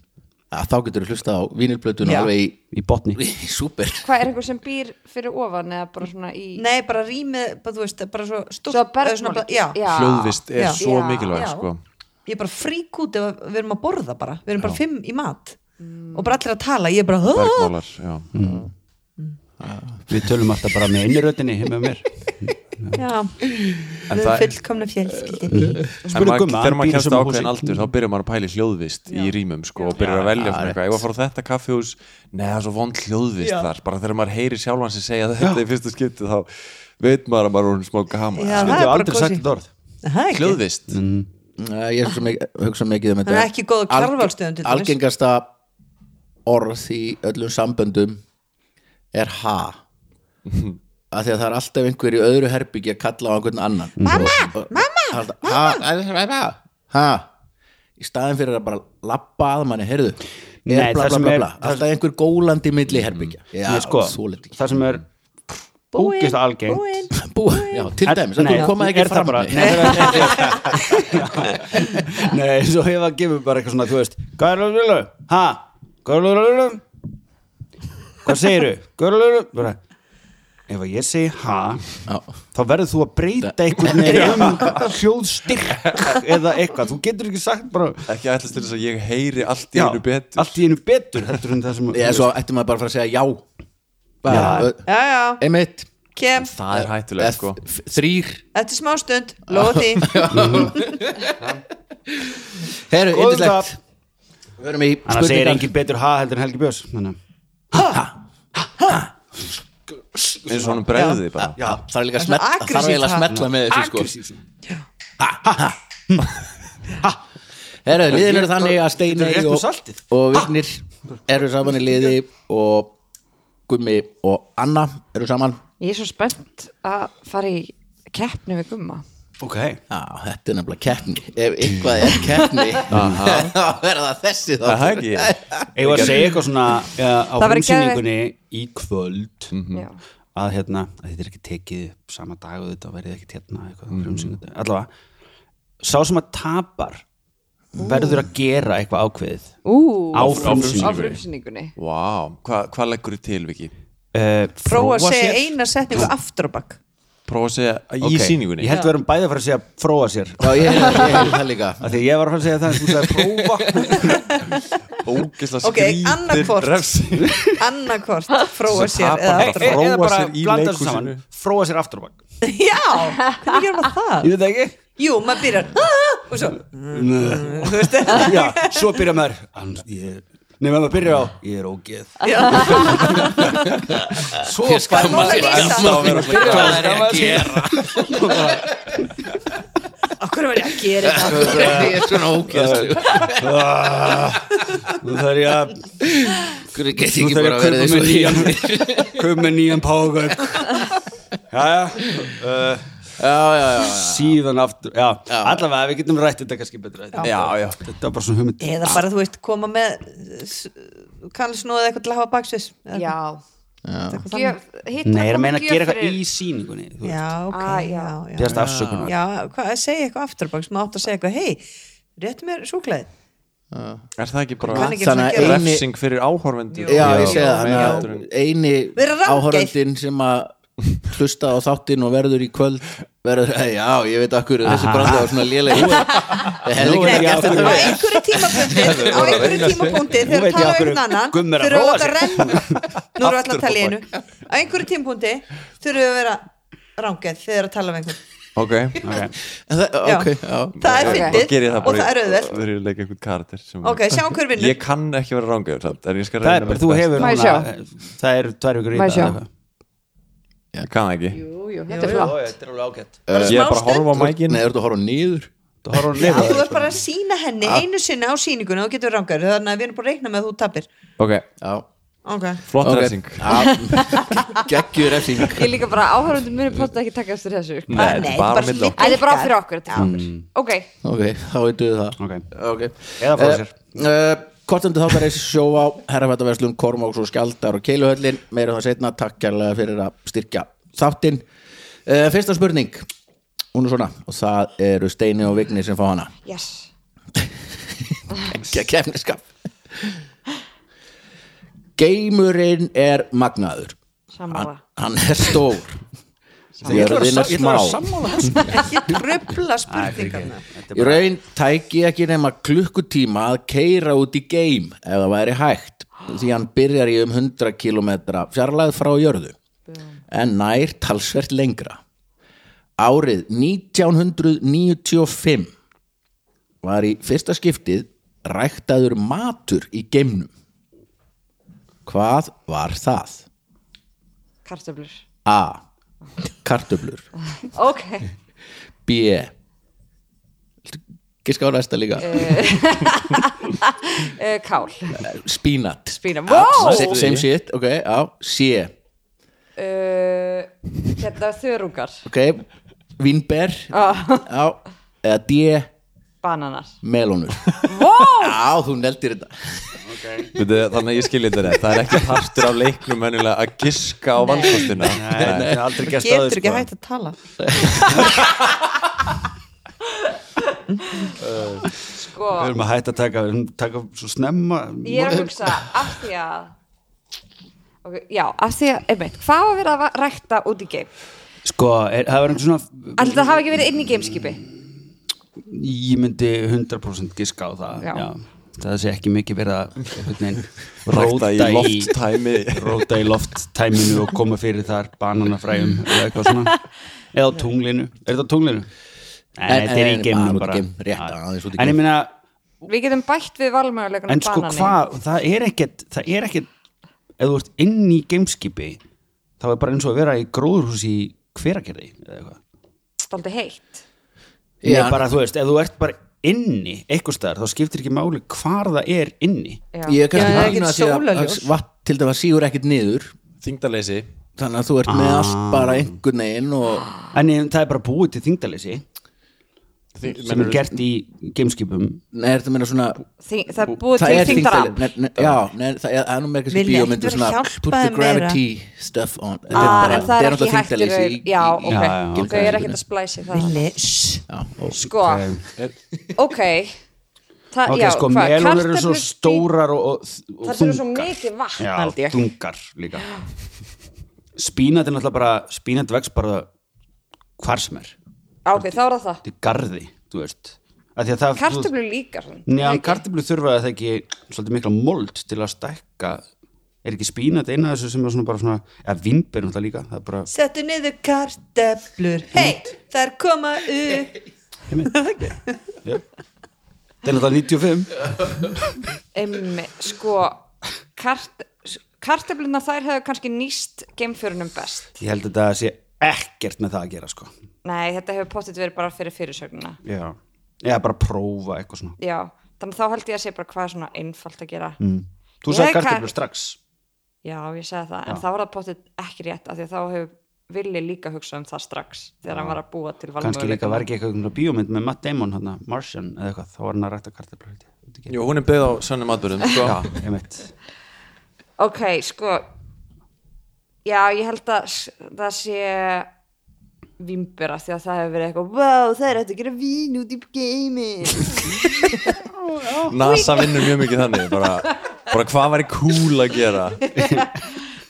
S2: að þá getur þú hlustað á vínilplötuna
S5: Já.
S2: alveg í,
S6: Í botni
S2: í súper
S4: Hvað er einhver sem býr fyrir ofan eða bara svona í
S5: Nei, bara rýmið, bara, þú veist, bara svo stúrt
S4: Svo að bergmál
S5: já.
S3: hljóðvist er
S5: Já.
S3: svo
S4: Já.
S3: mikilvæg,
S5: Já.
S3: sko
S5: Ég er bara frík út ef við erum að borða bara Við erum bara fimm í mat Og bara allir að tala, ég er bara "Hah?"
S3: bergmálar, já
S6: Við tölum alltaf bara með innirötinni með mér
S5: Já,
S3: En
S5: við
S3: það-
S5: erum fullkomna fjölskyldinni
S3: En
S6: Spurðu
S3: maður-
S6: Gumma,
S3: þegar maður
S6: hann býr í
S3: kemst
S6: sömu
S3: á
S6: húsi.
S3: ákveðin aldur þá byrjar maður að pæla í hljóðvist í rýmum sko, og byrjar að velja svona eitthvað, ég var að fara á þetta kaffi hús neða, svo vond hljóðvist þar bara þegar maður heyrir sjálfan sig segja þetta í fyrsta skipti þá veit maður að maður er orðinn smá gama
S5: Já,
S6: Við
S5: það er
S6: hefum
S5: bara
S6: aldrei sagt
S5: kósi
S6: þetta orð
S5: Það er ekki.
S3: hljóðvist
S2: Nei, Ég hugsa mikið, hugsa mikið um þetta
S5: Hann er ekki góð á
S2: Alge-
S5: kjarvalsstöðum til dæmis.
S2: Algengasta orð í öllum samböndum er ha af því að það er alltaf einhver í öðru herbyggi að kalla á einhvern annan Mamma, og, mamma, og, mamma Ha, ha, ha í staðin fyrir að bara labba að manni, heyrðu er
S6: Nei,
S2: bla, bla,
S6: það sem
S2: bla,
S6: er-
S2: bla, alltaf einhver gólandi milli herbyggja já,
S6: Nei, sko,
S2: svolítið ekki
S6: Það sem er ógeðst algengt
S2: Bú, já, til dæmis,
S6: Nei,
S2: það komaði ekki
S6: er það
S2: fram
S6: bara-
S2: nei.
S6: Nei, það er- Nei, svo hefur það gefur bara eitthvað svona, þú veist Hvað er það vilja? Ha? Hvað er það vilja? Hvað segirðu? Hvað er það vilja? ef að ég segi ha
S2: Já.
S6: þá verður þú að breyta einhvern veginn um hljóðstyrk eða eitthvað, þú getur ekki sagt bara
S3: ekki ætlast til þess að ég heyri allt í
S6: já,
S3: einu betur
S6: allt í einu betur heldur en það sem
S2: Eða svo ætti maður bara að fara að segja já bara, ö,
S5: já, já,
S2: einmitt
S5: kem
S3: það er hættulegt sko
S2: þrýr
S5: eftir smástund, lofa því
S2: Herru,
S6: Góðum
S2: yndislegt Við höfum í
S6: annars segir
S2: spurningar
S6: engin betur ha heldur en Helgi Björns þannig að-
S3: eins og honum bregði bara
S2: Já, það er líka að smetla,
S5: Svona
S2: það er eiginlega að
S5: aggressíft
S2: smetla með þessu sko
S6: Aggressív svona.
S2: Herru, liðin eru þannig að
S6: Þetta er
S2: Steinei
S6: rétt úr
S2: og,
S6: saltið.
S2: og Vignir eru saman í liði og Gummi og Anna eru saman
S4: Ég er svo spennt að fara í keppni við gumma
S6: ok,
S2: Já, þetta er nefnilega keppni Ef eitthvað er keppni þá verða það þessi þá
S3: Það er ekki
S6: eða að segja eitthvað svona ja, á
S4: Það væri
S6: húsýningunni í kvöld
S2: Mhm.
S4: Já.
S6: að hérna, að þetta er ekki tekið upp sama dag og þetta verið ekkert hérna eitthvað,
S2: Mhm.
S6: mm. allavega sá sem að tapar verður að gera eitthvað ákveðið
S4: Ú,
S6: á
S4: á
S6: frumsýningunni
S4: frumsýningunni
S3: Vá, hvað hva leggur þið til Viki?
S6: uh,
S5: prófa að segja eina setningu aftur á bakk
S3: Prófa að segja í sýningunni
S6: ég held við erum bæði að fara að segja fróa sér
S2: Já, ég hefði hef það líka
S6: af því að ég var að fara að segja það þú sagði prófa
S3: Ógisla
S5: Ok,
S3: skrýtir
S5: annarkvort.
S3: refsing
S5: annarkvort fróa sér
S3: tapar bara. Fróa
S5: eða aftur á
S6: E- eða bara
S3: sér í
S6: blanda þessu
S3: leikhúsinu.
S6: saman fróa sér aftur á bak
S5: bakk já, hvernig gerum maður það?
S6: ég veit ekki
S5: jú, maður byrjar "Ah", og svo,
S6: Mm.
S5: þú veist
S6: já, svo byrja maður Hann- ég- Nei, maður byrja á ég er ógeð svo
S2: Ég skal
S5: Bara
S2: maður
S5: lýsa.
S2: ennþá að vera svona, Hvað er ég að
S5: okkur var ég að gera það
S2: gera? Ég er svona ógæðslu
S6: nú þarf ég að
S2: Hverju get ég
S6: nú
S2: ekki
S6: þarf ég
S2: bara
S6: að
S2: verið
S6: kaupa
S2: eins
S6: með
S2: og
S6: nýjan
S2: því?
S6: kaupa með nýjan págauk já, já
S2: Já, já, já
S6: síðan aftur, já, allavega við getum rætt þetta kannski betur þetta,
S3: Já, já
S6: þetta er bara svona hugmynd
S5: eða bara, þú veist, koma með kannslunóð eða eitthvað til að hafa baksvis
S4: Já Gjöf,
S6: Nei, ég er að meina að gera eitthvað í síningunni þú veist,
S5: já, ok,
S4: Ah, já.
S5: já, já
S6: bjast afsökunar
S5: já, hvað, segja eitthvað aftur á bakk sem átt að segja eitthvað, hei réttu mér súklaði
S3: Er það ekki bara
S5: kann ekki
S2: Þannig
S5: svona
S2: að
S5: gera.
S2: eini
S3: refsing fyrir áhorfendur
S2: Já, ég segi það,
S3: meira
S2: þannig
S6: um
S3: heldur en-
S2: að eini
S5: Vera ráðgeill.
S2: áhorfandinn sem að hlusta á þáttinn og verður í kvöld verður, já, ég veit akkur þessi brandi var svona léleg ég hefði
S6: Nú
S2: ekki
S6: er ég
S2: gert
S6: ákveðin.
S2: þetta
S5: á einhverju tímapunkti á einhverju tímapunkti
S6: Nú
S5: þegar
S6: veit ég
S5: tala
S6: af
S5: um
S6: hverju
S5: einhvern annan
S6: Gummi er að
S5: þurfa að
S6: róa
S5: láta
S6: sig.
S5: renna nú erum við alltaf að tala
S3: Aftur
S5: í einu á einhverju tímapunkti þurfa að vera rángið þegar að tala um einhvern
S3: Ok
S2: En það-
S5: Já.
S2: ok, já,
S5: það er
S3: Þá geri
S5: fyndið
S3: ég
S5: og það er auðvelt
S3: Það er að leika eitthvað karakter sem-
S5: ok, sjáum hver vinnur
S3: Ég kann ekki vera rángaður samt En ég skal
S6: það
S3: reyna mitt
S6: er bara, þú
S3: besta.
S6: hefur
S4: Má ég
S6: núna það er tvær vikur í
S4: Má ég
S6: það
S4: sjá?
S6: eða eitthvað.
S3: Ég kann það ekki
S4: Jú, jú, þetta er flott
S6: þetta er alveg ágætt
S3: Ég er bara að horfa á
S2: Nei,
S3: mækin
S2: þú ert að horfa nýður
S6: þú horfum að
S5: Já,
S6: lifa
S5: þú ert bara að sína henni einu sinni á síningunni og þú getur rangar þannig að við erum bara að reikna með að þú tapir
S3: Ok,
S2: Já,
S5: ok,
S3: flott
S2: ok.
S3: refsing
S2: Já, Geggjur refsing
S4: Ég líka bara áhörundu muni potið ekki taka eftir þessu Æ,
S3: Nei, þetta
S5: Nei,
S3: er bara
S5: bara
S3: mitt á
S4: Þetta er bara fyrir okkur, þetta er fyrir okkur. Ok,
S2: Ok, þá veitum við það
S6: Ok.
S2: okay.
S6: Eða
S2: Eh,
S6: frá sér.
S2: Kortendu þáttar eins sjóvá Herrafættaverslun, Kormáks og Skjaldar og Keiluhöllin Meira það setna, takk kærlega fyrir að styrkja þáttinn uh, Fyrsta spurning Hún er svona Og það eru Steini og Vigni sem fá hana
S4: yes
S2: Ekki að kemniskap Geimurinn er magnaður
S4: Sammála.
S2: Hann, hann er stór
S6: Ég ætla að
S2: Jörðin
S6: sam-
S2: er
S6: ég ætla að
S2: smá
S6: sammála þessu.
S5: ekki tröfla spurningarna
S6: Þetta
S2: Í
S6: er
S2: raun tæki ekki nema klukkutíma að keira út í geim ef það væri hægt því hann byrjar í um 100 km fjarlæð frá jörðu en nær talsvert lengra Árið 1995 var í fyrsta skiptið ræktaður matur í geimnum Hvað var það?
S4: Kartöflur
S2: A. Kartöflur
S4: Ok,
S2: B Giska á næsta líka
S4: uh, kál
S2: Spínat
S4: Spína, wow
S2: Se- Same shit, ok, já, sé
S4: uh, Hérna þörungar
S2: Ok, vínber Já, eða D
S4: Bananar
S2: melónur
S4: Wow,
S2: Já, þú neldir þetta
S3: Veitu, Þannig að ég skilja þetta rétt. Það er ekki partur af leiknum mennilega að giska á valkostina
S6: Nei, þetta er aldrei gerst
S5: getur ekki
S6: sko.
S5: hægt að tala
S4: sko
S6: við erum að hætta að taka, við erum að taka svo snemma
S4: Ég er að hugsa af því að okay, já, af því að, einmitt, hvað var verið að rækta út í geim?
S6: Sko, er, það var einhver svona
S4: Alltaf það hafa ekki verið inn í geimskipi
S6: Ég myndi 100% giska á það
S4: Já.
S6: Það sé ekki mikið verið að einhvern veginn
S3: Rækta í
S6: róta
S3: lofttæmi
S6: Róta í lofttæminu og koma fyrir þar bananafræjum eða eitthvað svona Eða á tunglinu, er þetta á tunglinu? Nei,
S2: En-
S6: þetta er í
S2: en- bara
S6: geiminu
S2: út í
S6: bara
S2: geim, rétt,
S6: Já.
S2: aðeins út í
S6: En
S2: geim.
S6: ég meina,
S4: Við getum bætt við valmöguleikana
S6: en sko
S4: banani.
S6: hvað það er ekkert, það er ekkert ef þú ert inn í geimskipi þá er bara eins og að vera í gróðurhús í hveragerði eða eitthvað
S4: Dálítið heitt
S6: Ég
S2: Já.
S6: er bara, þú veist, ef þú ert bara inni eitthvað staðar, þá skiptir ekki máli hvar það er inni
S4: Já.
S2: ég er
S5: Já, það er
S2: kannski að því
S5: ekkert
S2: að- að
S5: sólarljós.
S2: vatn til dæmis sígur ekkert niður
S3: Þingdaleysi
S2: þannig að þú ert með allt bara einhvern veginn og
S6: en ég- það er bara búið til þingdalesi sem er gert í gameskipum
S2: Nei, er þetta meina svona
S4: Þing, Það er búið
S2: Það
S4: til
S2: er
S4: þingdarafl
S2: þingdali- nei, nei, Já, nei, það er- það er nú meira kannski
S5: Vilja
S2: bíómyndu
S5: ekki vera
S2: svona
S5: hjálpa
S2: Put the
S5: þeim meira.
S2: gravity stuff on Þetta
S4: Ah,
S2: bara-
S4: en það
S2: þetta
S4: er ekki
S2: náttúrulega
S4: hægt í
S2: þingdaleysi
S4: raun Já,
S2: í-
S4: ok,
S6: Já, já, ok.
S4: þau eru ekkert að splæsi það
S5: Villi, sss.
S2: Já, og-
S4: Sko, ok Þa,
S6: ok,
S4: já,
S6: sko,
S4: hvað,
S6: melunur eru svo
S4: kartöflustík-
S6: stórar og, og, og
S4: Þar eru svo mikið vatn,
S6: Já,
S4: held ég.
S6: dungar líka spínat er náttúrulega bara spínat vex bara hvar sem er
S4: Á, Ok, þá er það það
S6: þetta er garði, þú veist Af því að það-
S4: Kartöflu líka svona.
S6: Nei, en kartöflu þurfa það ekki svolítið mikla mold til að stækka er ekki spínat eina af þessu sem er svona bara svona eða vinnber náttúrulega líka það er bara
S5: settu niður karteflur hei, þær koma upp
S6: það er náttúrulega 95
S4: Einmi, sko kart, Kartöflunar þær hefur kannski nýst geimförunum best
S6: ég held að það sé ekkert með það að gera sko
S4: Nei, þetta hefur pottit verið bara fyrir fyrirsögnuna
S6: já eða bara prófa eitthvað svona
S4: Já, þannig þá held ég að sé bara hvað er svona einfalt að gera
S6: þú
S4: Ég
S6: sagði
S4: hef
S6: kartöflu
S4: kar-
S6: strax
S4: Já, ég sagði það, en þá var það pottit ekki rétt af því að þá hefur Villi líka hugsað um það strax þegar hann var að búa til
S6: kannski líka
S4: valmöguleikana.
S6: var ekki eitthvað svona bíómynd með Matt Damon hana, Martian eða eitthvað þá var hann að rætta kartöflu held ég. Veit ekki.
S3: Jú, hún er byggð á sönnum atbyrðum sko.
S6: já, einmitt
S4: Ok, sko Já, ég held að s- það sé vimbera því að það hefur verið eitthvað Vá, það er hægt að gera vín út í geimi
S3: NASA vinnur mjög mikið þannig bara, bara hvað væri cool að gera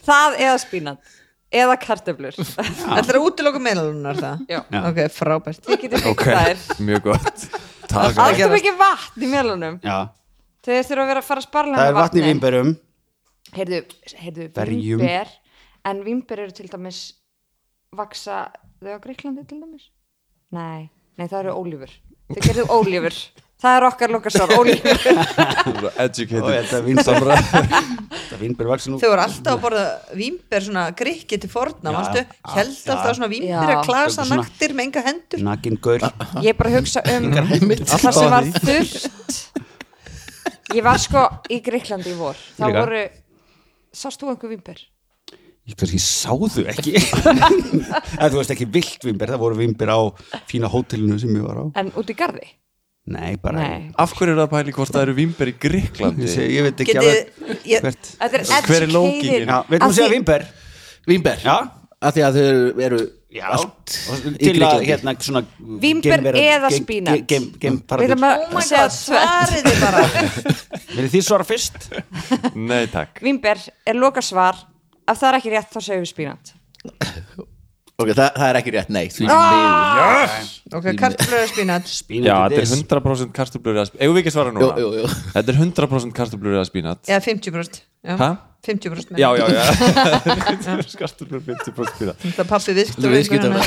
S4: Það eða spínat eða kartöflur
S5: Ætlar að útiloka meðlunar það?
S4: Já.
S5: Ok, frábært
S4: Þið getur fengt
S3: Ok,
S4: þær
S3: mjög gott Takk
S4: Alltaf mikið vatn í mjölunum
S6: já
S4: Þau þurfa að vera að fara að sparla
S6: það
S4: með
S6: er vatn í vinnberum
S4: heyrðu, heyrðu
S6: Berjum.
S4: vínber en vínber eru til dæmis vaksa þau á Greiklandi til dæmis nei, nei það eru ólífur þau gerðu ólífur, það er okkar lokasvar ólífur,
S6: og
S3: Educated
S6: þetta vinnber þetta vinnber vex nú
S5: Þau voru alltaf að borða vínber svona grikki til forna,
S6: Já,
S5: manstu? Held
S6: já.
S5: alltaf svona vínber
S4: Já.
S5: að klasa
S6: Svona-
S5: naktir með enga hendur
S6: nakin gaur
S4: ég er bara að hugsa um
S2: Einmitt.
S4: það sem var þurft ég var sko í Greiklandi í vor þá
S6: Líka.
S4: voru, sást þú einhver vínber?
S6: ég kannski sá þau ekki eða þú veist ekki vilt vimber það voru vimber á fína hótelinu sem ég var á
S4: en út í garði?
S6: nei bara
S4: nei
S3: Af hverju er það að pæli hvort það eru vimber í
S6: ég,
S3: Gríklandi?
S6: sé, ég veit ekki
S5: Getið, ég,
S6: hvert
S4: Þetta er
S3: Hver er
S4: educated
S3: lóginin?
S6: já,
S4: Af
S6: veitum að segja
S4: því-
S6: vimber
S2: Vínber
S6: já,
S2: Af því að þau eru- eru
S6: já.
S2: allt
S6: Og
S2: í
S6: til að
S2: Gríklandi.
S6: hérna svona
S4: Vínber eða spínat. Við erum
S6: spínat
S4: að
S5: oh my
S4: segja
S5: god,
S4: tvennt.
S5: svarið þið bara
S6: vil þið svara fyrst
S3: Nei, takk
S4: Vimber er loka svar ef það er ekki rétt þá segjum við spínat
S2: Ok, það, það er ekki rétt, nei Því miður
S5: Ok, kartflöðu spínat
S6: spínat
S3: Já,
S6: it
S3: þetta er
S6: is.
S3: 100% kartöblur eða spínat Eigum við ekki að svara núna?
S2: Jú, jú, jú.
S3: Þetta er 100% kartöblur eða spínat
S5: Já, 50 brúst
S3: Hæ?
S5: 50 brúst
S3: Já, já, já Kartöblur 50% spínat
S5: Það pappi viðskipt
S2: Þú viðskipta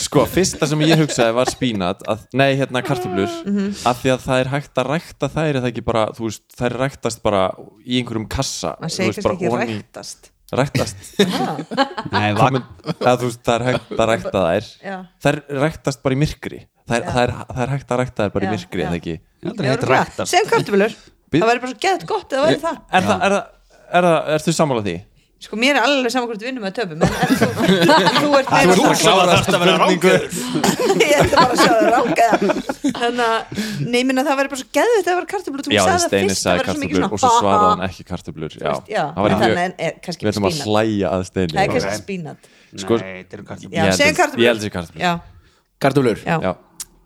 S3: Sko, fyrsta sem ég hugsaði var spínat að, Nei, hérna kartöblur
S5: Mm, mhm.
S3: Af því að það er hægt að rækta þær er það ekki bara, þú veist, Þær ræktast bara í einhverjum kassa
S5: Man
S3: þú
S5: segir
S3: veist,
S5: kannski
S3: bara
S5: ekki
S3: ofan í-
S5: ræktast
S3: Ræktast
S6: Nei,
S3: Það
S6: vak-
S3: mun- eða þú veist, það er hægt að rækta þær
S5: Já.
S3: Þær ræktast bara í myrkri Það er, það er, það er hægt að rækta þær bara í
S5: Já,
S3: myrkri
S5: já.
S3: eða ekki
S6: Já, þetta er heitt
S5: Örugglega.
S6: ræktast
S5: Sem kartflöður
S3: Bíð-
S5: Það væri bara svo gett gott eða væri það
S3: Er það, er það, er það, ertu sammála því?
S5: Sko, mér er alveg saman hvort við vinnum að töpum en, en þú, þú ert meira
S6: Þú
S5: það.
S6: klárar þetta að vera rángur
S5: ég ætla bara að sjá það ráka þannig að, nei, minna það væri bara svo geðvitt að það væri kartöflur, þú
S3: Já, en
S5: sagði það
S3: Steini
S5: fyrst það
S3: sagði
S5: væri svo mikið
S3: kartöblur og
S5: svona
S3: svo svaraði hann ekki kartöblur Já,
S5: já,
S3: það var
S5: þannig
S3: mjög
S5: en er kannski
S3: Við ætlum að
S5: spínat.
S3: hlæja að Steini
S5: það er
S3: Ég
S5: kannski spínat
S3: Sko-
S6: Nei, þetta eru kartöflur
S5: já,
S3: held
S5: segjum
S3: að-
S5: kartöflur
S3: ég held þessi kartöblur
S5: já,
S2: Kartulur
S5: já,
S3: Já,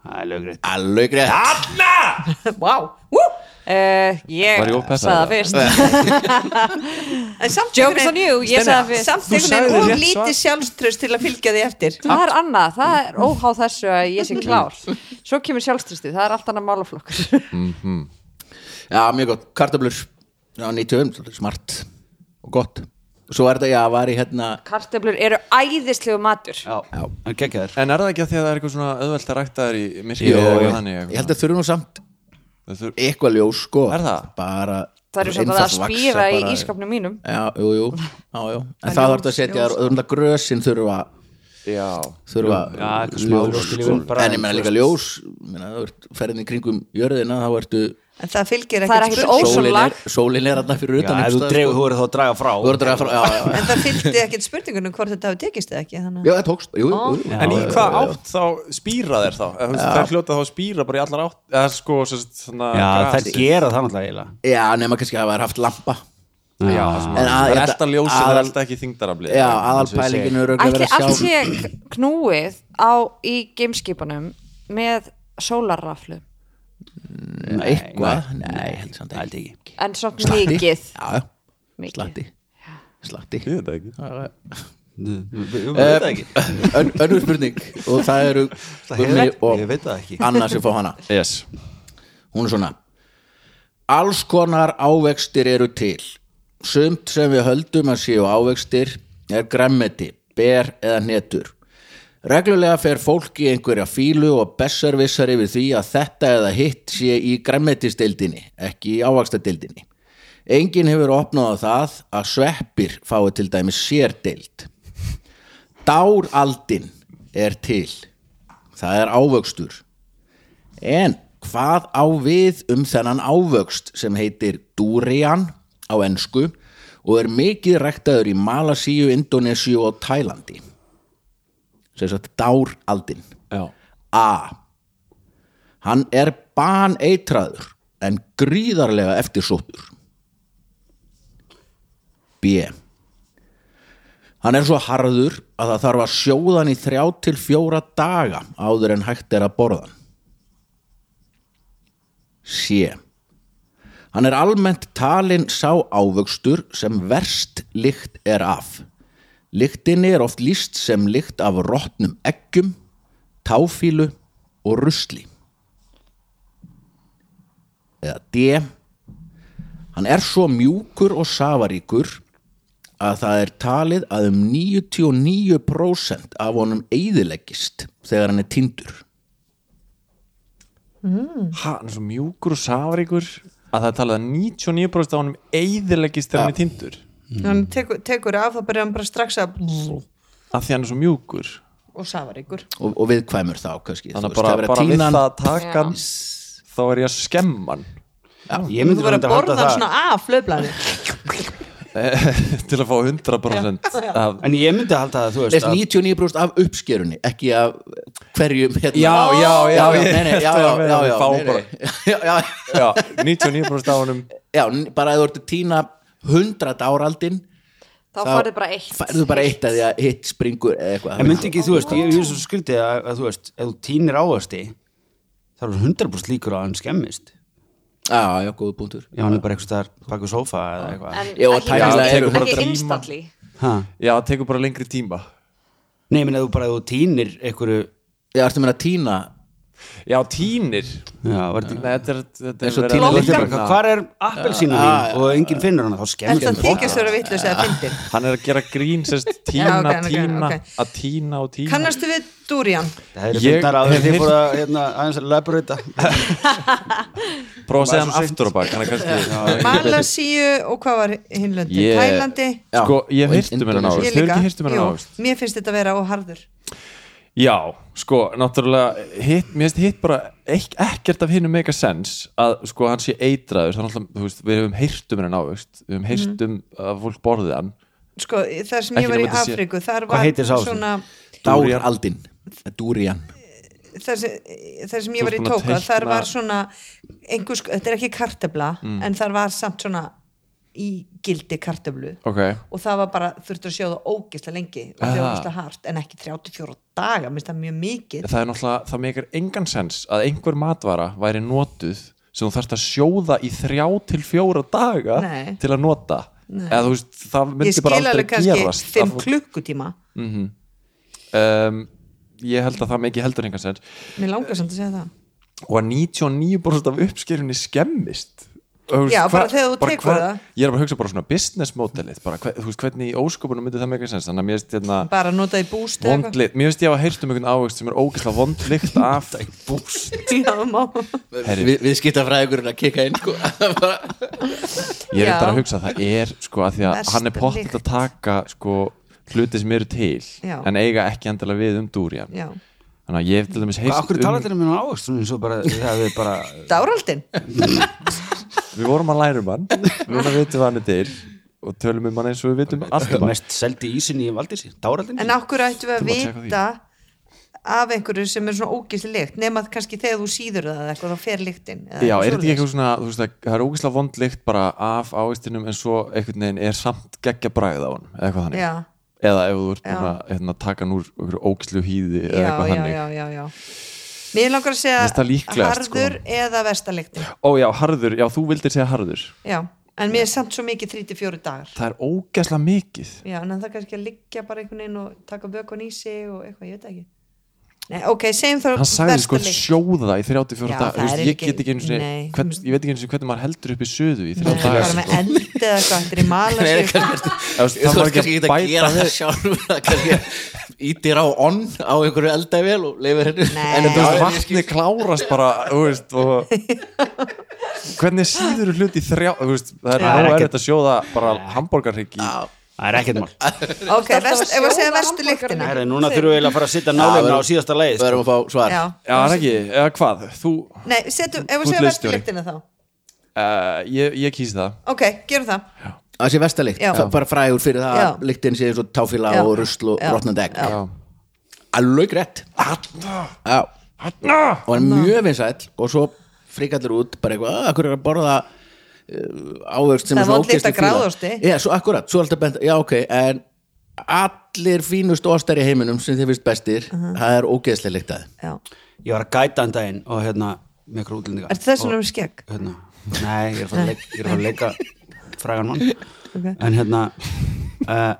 S6: Það er lögrið
S2: Alveg rétt
S6: Anna!
S5: vá, wow.
S4: uh, ég
S3: Var ég
S4: sagði
S3: ópeppaður?
S4: það fyrst
S5: En samt
S4: jokes on
S5: einhvern
S4: you, ég sagði það
S5: veginn-
S4: fyrst
S5: Samt
S3: Þú
S5: einhvern
S3: sagðir rétt
S5: veginn og lítið sjálfströst til að fylgja því eftir
S4: það er annað, það er óháð þessu að ég sé klár svo kemur sjálfstrustið, það er allt annað málaflokkur
S2: Já, mjög gott, kartablur Já, 95, svolítið smart og gott Svo er þetta, já, var í hérna
S4: kartöflur eru æðislegu matur
S6: Já, hann gekkja þér
S3: En er það ekki að því að það er eitthvað svona auðvelt að rækta þær í myrkri
S2: Jú,
S3: eða
S2: ég
S3: þannig eitthvað?
S2: held að þurfum nú samt
S3: Það þurf-
S2: eitthvað ljós, sko
S3: Er það?
S2: Bara
S4: það eru samt að
S2: einfalt
S4: það
S2: vaxa
S4: spýra í
S2: bara-
S4: ískapnum mínum
S2: Já, jú, jú, já, jú En það þarf að setja, það er grösin þurfa
S3: Já
S2: þurfa
S6: Já, eitthvað smá
S2: ljós,
S6: ljós til
S2: sko.
S6: yfir bara-
S2: en ég menna líka ljós menna, þú ert ferðin í kringum jörðina þá ertu
S5: En það
S4: Það
S5: fylgir
S4: er
S5: ekkert
S4: ekkert
S5: spurning
S2: sólin
S4: Ósonlag.
S2: er, sólin er þarna fyrir utan
S6: Já, ef þú
S2: einhvers staðar,
S6: dregur,
S2: sko.
S6: þú verður þá að draga frá
S2: þú ert að draga frá já, já, já.
S5: En það fylgdi ekkert spurningunum hvort þetta hafi tekist eða ekki þannig.
S2: já, það tókst jú, jú, jú.
S6: Já.
S3: En í hvað átt þá spýra þér þá? Eða, þú veist, Það er hljóta þá að spýra bara í allar átt eða sko, svona
S6: Já, það gera það náttúrulega eiginlega
S2: já, nema kannski að það er haft lampa
S3: Já,
S2: En að-
S3: það er elda ljósi, það er
S2: aðal-
S3: elda ekki þyngdarafli
S2: já, aðalpælingin er að
S4: ætli
S2: vera að sjá
S4: allt sé knúið á í gameskipunum með sólarraflu
S2: eitthvað, nei, heldur samt
S6: Það held
S2: ekki
S6: ég ekki
S4: en samt
S2: Slatti.
S4: mikið
S2: já, já,
S4: Mikið.
S2: slatti slatti
S3: Ég veit það ekki
S6: Ég veit það ekki
S2: Ön- önnur spurning og það eru Gummi
S6: Ég
S2: og
S6: veit það ekki
S2: Anna sem fá hana
S3: Yes
S2: hún er svona alls konar ávextir eru til sumt sem við höldum að séu ávextir er græmmeti, ber eða hnetur reglulega fer fólk í einhverja fílu og besservissar yfir því að þetta eða hitt sé í græmmetistildinni ekki í ávaxtadildinni enginn hefur opnað á það að sveppir fái til dæmis sérdild dáraldin er til það er ávöxtur En hvað á við um þennan ávöxt sem heitir durian á ensku og er mikið ræktaður í Malasíu, Indonésiu og Tælandi? Sem sagt dáraldin.
S3: Já
S2: A. Hann er baneitraður en gríðarlega eftirsóttur. B. Hann er svo harður að það þarf að sjóða hann í þrjá til fjóra daga áður en hægt er að borða hann. C. Hann er almennt talinn sá ávöxtur sem verst lykt er af. Lyktinni er oft líst sem lykt af rottnum eggjum, táfílu og rusli. Eða D. Hann er svo mjúkur og safaríkur að það er talið að um 99% af honum eyðileggist þegar hann er tindur.
S3: Ha, hann er svo mjúkur og safaríkur að það er talið að 99% af honum eyðilegist þegar hann er tindur
S5: Hann tekur, tekur af það byrja hann bara strax að
S3: að því hann er svo mjúkur
S5: og safar ykkur
S2: Og, og viðkvæmur þá kannski.
S3: þannig að
S2: Þú veist,
S3: bara,
S2: það er verið að
S3: bara við
S2: tína hann-
S3: það að taka hann þá er ég að skemma hann
S6: Ég myndi
S5: Þú verður
S6: reyndar
S5: að borða
S6: halda
S5: hann
S6: það-
S5: svona af flöflani
S3: til að fá 100% af
S6: En ég myndi halda það, þú
S2: Leist
S6: veist að-
S2: 99% af uppskerunni ekki af hverjum hérna.
S3: Já, já, já,
S2: já,
S3: ég-
S2: nei, nei, já,
S3: þetta
S2: já,
S3: var með
S2: já,
S3: að
S2: já,
S3: fá
S2: nei, nei.
S3: bara-
S2: já, já,
S3: já, 99% af honum
S2: já, n- bara að þú ert að týna 100 áraldin
S4: þá færðu bara eitt
S2: færðu bara eitt að því að hitt springur eða eitthvað
S6: En myndi ekki, þú veist, ég ég er svo skrítið að, að þú veist, ef þú tínir ávöxti þá er 100% líkur á að hann skemmist
S2: já, já, góðu punktur
S6: Já, hann er bara eitthvað staðar bak við sófa eða eitthvað
S4: en
S2: Já, og
S4: ekki,
S2: tæknilega
S4: ekki,
S2: eru
S3: bara
S4: ekki
S3: dríma.
S4: instantly
S6: ha.
S3: já, það tekur bara lengri tíma
S6: Nei, minn að þú bara, ef þú tínir einhverju
S2: já, ertu meina að týna
S3: já, tínir
S6: Já, var þetta
S3: Nei, þetta er, þetta
S2: Eins og
S3: er
S2: tínir
S6: Þú
S3: verið
S6: veist,
S3: að-
S6: ég bara, Hvar er appelsínu
S2: Já, já,
S6: mín og enginn finnur hann, þá
S5: En
S6: skemmist
S5: það
S6: hann
S5: þykist vera vitlega að fyndin
S3: hann er að gera grín sérst, tína,
S5: ok, ok,
S3: tína,
S5: ok.
S3: að tína og tína
S5: Kannastu við Durian?
S6: Það er
S3: Ég
S6: fundar að
S3: hef
S6: þið
S3: heyrt-
S6: fóra hérna, aðeins að laburita
S3: prófa að segja hann aftur á bak hann er kannski
S5: Malasíu og hvað var hinlöndin?
S3: Ég-
S5: Yeah. Tælandi?
S2: Já.
S3: sko, ég hef hýrt
S2: Og
S3: um hennan
S2: Indónesíu.
S3: ávist, þau ekki hýrt um hennan
S5: Jú,
S3: ávist
S5: mér finnst þetta að vera óharður
S3: Já, sko, náttúrulega hitt, mér finnst hitt bara ek, ekkert af hinn um mega sens að sko hann sé eitraður, þannig að þú veist, við hefum heyrt um henni návist, við hefum
S5: Mhm.
S3: heyrt um að fólk borðið hann,
S5: Sko, þar sem
S3: Ekki
S5: ég var í
S3: nema þetta sé-
S5: Afríku þar
S6: Hvað
S5: var
S6: heitir sá sem?
S5: svona
S2: dáraldin durian
S5: þar sem, þar sem ég
S3: Þú
S5: var í
S3: ert búin að
S5: Tóka þar
S3: teikna- Mm.
S5: var svona einhvers, þetta er ekki kartebla en þar var samt svona í gildi karteblu
S3: ok
S5: og það var bara, þurfti að sjóða ógislega lengi og það var ógislega hart en ekki 34 daga, minnst það mjög mikið
S3: það er náttúrulega, það megar engan sens að einhver matvara væri notuð sem þú þarft að sjóða í þrjá til fjóra daga
S5: Nei.
S3: til að nota eða þú veist, það
S5: ég
S3: myndi
S5: skil
S3: bara
S5: alveg
S3: aldrei
S5: kannski
S3: gerast að
S5: 5
S3: fólk-
S5: klukkutíma
S3: um, ég held að það með ekki heldur engan sér
S5: mér langar samt að segja það
S3: og að 99% af uppskerunni skemmist Þú veist,
S5: Já, bara
S3: hva-
S5: þegar þú
S3: bara
S5: tekur
S3: hva-
S5: það.
S3: ég er bara að hugsa bara svona business modelið bara, hve- þú veist, hvernig í ósköpunum myndi það með ekki sens þannig að mér finnst hérna
S5: bara nota í búst eða eitthvað.
S3: vondlikt, mér finnst ég að hafa heyrt um einhvern ávegst sem er ógeðslega vondlikt af búst
S5: Já, má.
S3: Herri.
S2: við, við skipta fræðugurinn að kika inn sko.
S3: ég er
S5: Já.
S3: reyndar að hugsa að það er sko að því að
S5: Verst
S3: hann er pottitt
S5: lykt.
S3: að taka sko hluti sem eru til
S5: Já.
S3: en eiga ekki endilega við um dúrjan
S5: Já.
S3: þannig að ég hef til dæmis
S6: Hvað
S3: heyrt
S6: okkur
S3: um
S6: talaðir um hérna ávöxt eins og bara, það er bara
S5: dáraldin
S3: við vorum að læra um hann núna vitum við hann er til og tölum um hann eins og við vitum allt um hann
S6: mest seldi ísin í valdísi, dáraldin
S5: en okkur ættum við að
S3: Þú mátt
S5: vita af einhverju sem er svona ógisleikt nema að kannski þegar þú síður það eða eitthvað þá fer líktinn
S3: Já, er þetta ekki eitthvað svona, þú veist að það er ógeðslega vond lykt bara af ávistinum en svo einhvern veginn er samt geggja bræðið á hann eða eitthvað þannig,
S5: Já.
S3: eða ef þú ert
S5: Já.
S3: búin að hérna, taka hann úr einhverju ógeðslu hýði eða
S5: já,
S3: eitthvað
S5: já,
S3: þannig
S5: já, já, já mér langar að segja
S3: Finnst það líklegast, sko.
S5: harður eða verstaliktin
S3: Ó já, harður, já þú vildir segja harður
S5: já, en mér er samt svo mikið 34 dagar
S3: Það er ógeðslega mikið
S5: já, en það er kannski að liggja bara einhvern veginn og taka vökun í sig og eitthvað, ég veit það ekki Nei, ok, segjum þá
S3: Hann sagði sko
S5: verstalykt.
S3: sjóða í 34
S5: Já,
S3: dag
S5: það
S3: Þú veist,
S5: er
S3: Ég
S5: ekki-
S3: get ekki einu sinni,
S5: nei.
S3: hvern, ég veit ekki einu sinni hvernig maður heldur upp í söðu í sko. 34 daga
S5: Nei, bara með eld eða eitthvað, þetta er í mala
S2: Nei, kannski-
S3: Það
S2: þú
S3: var
S2: veist kannski
S3: ekki
S2: ekki
S3: að
S2: að gera
S3: bæta
S2: það sjálf það kannski ítir á onn á einhverju eldavél og leifir hennu
S5: Nei.
S2: en
S3: Þú
S2: þetta
S3: veist,
S2: var
S3: vatni klárast bara, þú veist, og hvernig síður þú hlut í þrjá, þú veist, það er
S5: Já.
S3: náður ekkert að sjóða bara hambúrgarrygg í.
S6: það er ekkert mál
S5: ok, vest, ef að segja verstu lyktina
S6: Herri, núna þurfum við eiginlega að fara að sitja nálega á síðasta leið
S2: við erum að fá svar
S5: já,
S3: Já, það er ekki, eða hvað, þú,
S5: nei, setjum, ef
S3: Þú
S5: að segja
S3: ert
S5: verstu
S3: leikstjóri.
S5: lyktina þá
S3: uh, ég, ég kýsi það.
S5: ok, gerum það,
S2: að sé vestalikt,
S5: Já.
S2: það er bara frægur fyrir það
S5: Já.
S2: að lyktin sé eins og táfíla
S5: Já.
S2: og rusl og
S5: Já.
S2: rotnandi egg
S3: Já.
S2: alveg rétt
S3: Hanna,
S2: Já.
S3: hanna.
S2: og hann er mjög vinsæll og svo frikallir út bara eitthvað, "Ah, af hverju er að borða eh, ávöxt sem
S5: Það
S2: er
S5: er
S2: svona
S5: vond lykt
S2: ógeðsleg
S5: af
S2: fýla?"
S5: gráðosti.
S2: Já, svo akkurat, svo er alltaf bent Já, ok, en allir fínustu ostar í heiminum sem þið finnst bestir það er ógeðslega líktað
S5: já
S6: ég var að gæta hann daginn og hérna með ykkur útlendinga
S5: er þess vegna um skegg
S6: hérna, nei, ég er að fara að leik- ég er að fara að leika frægan mann en hérna uh,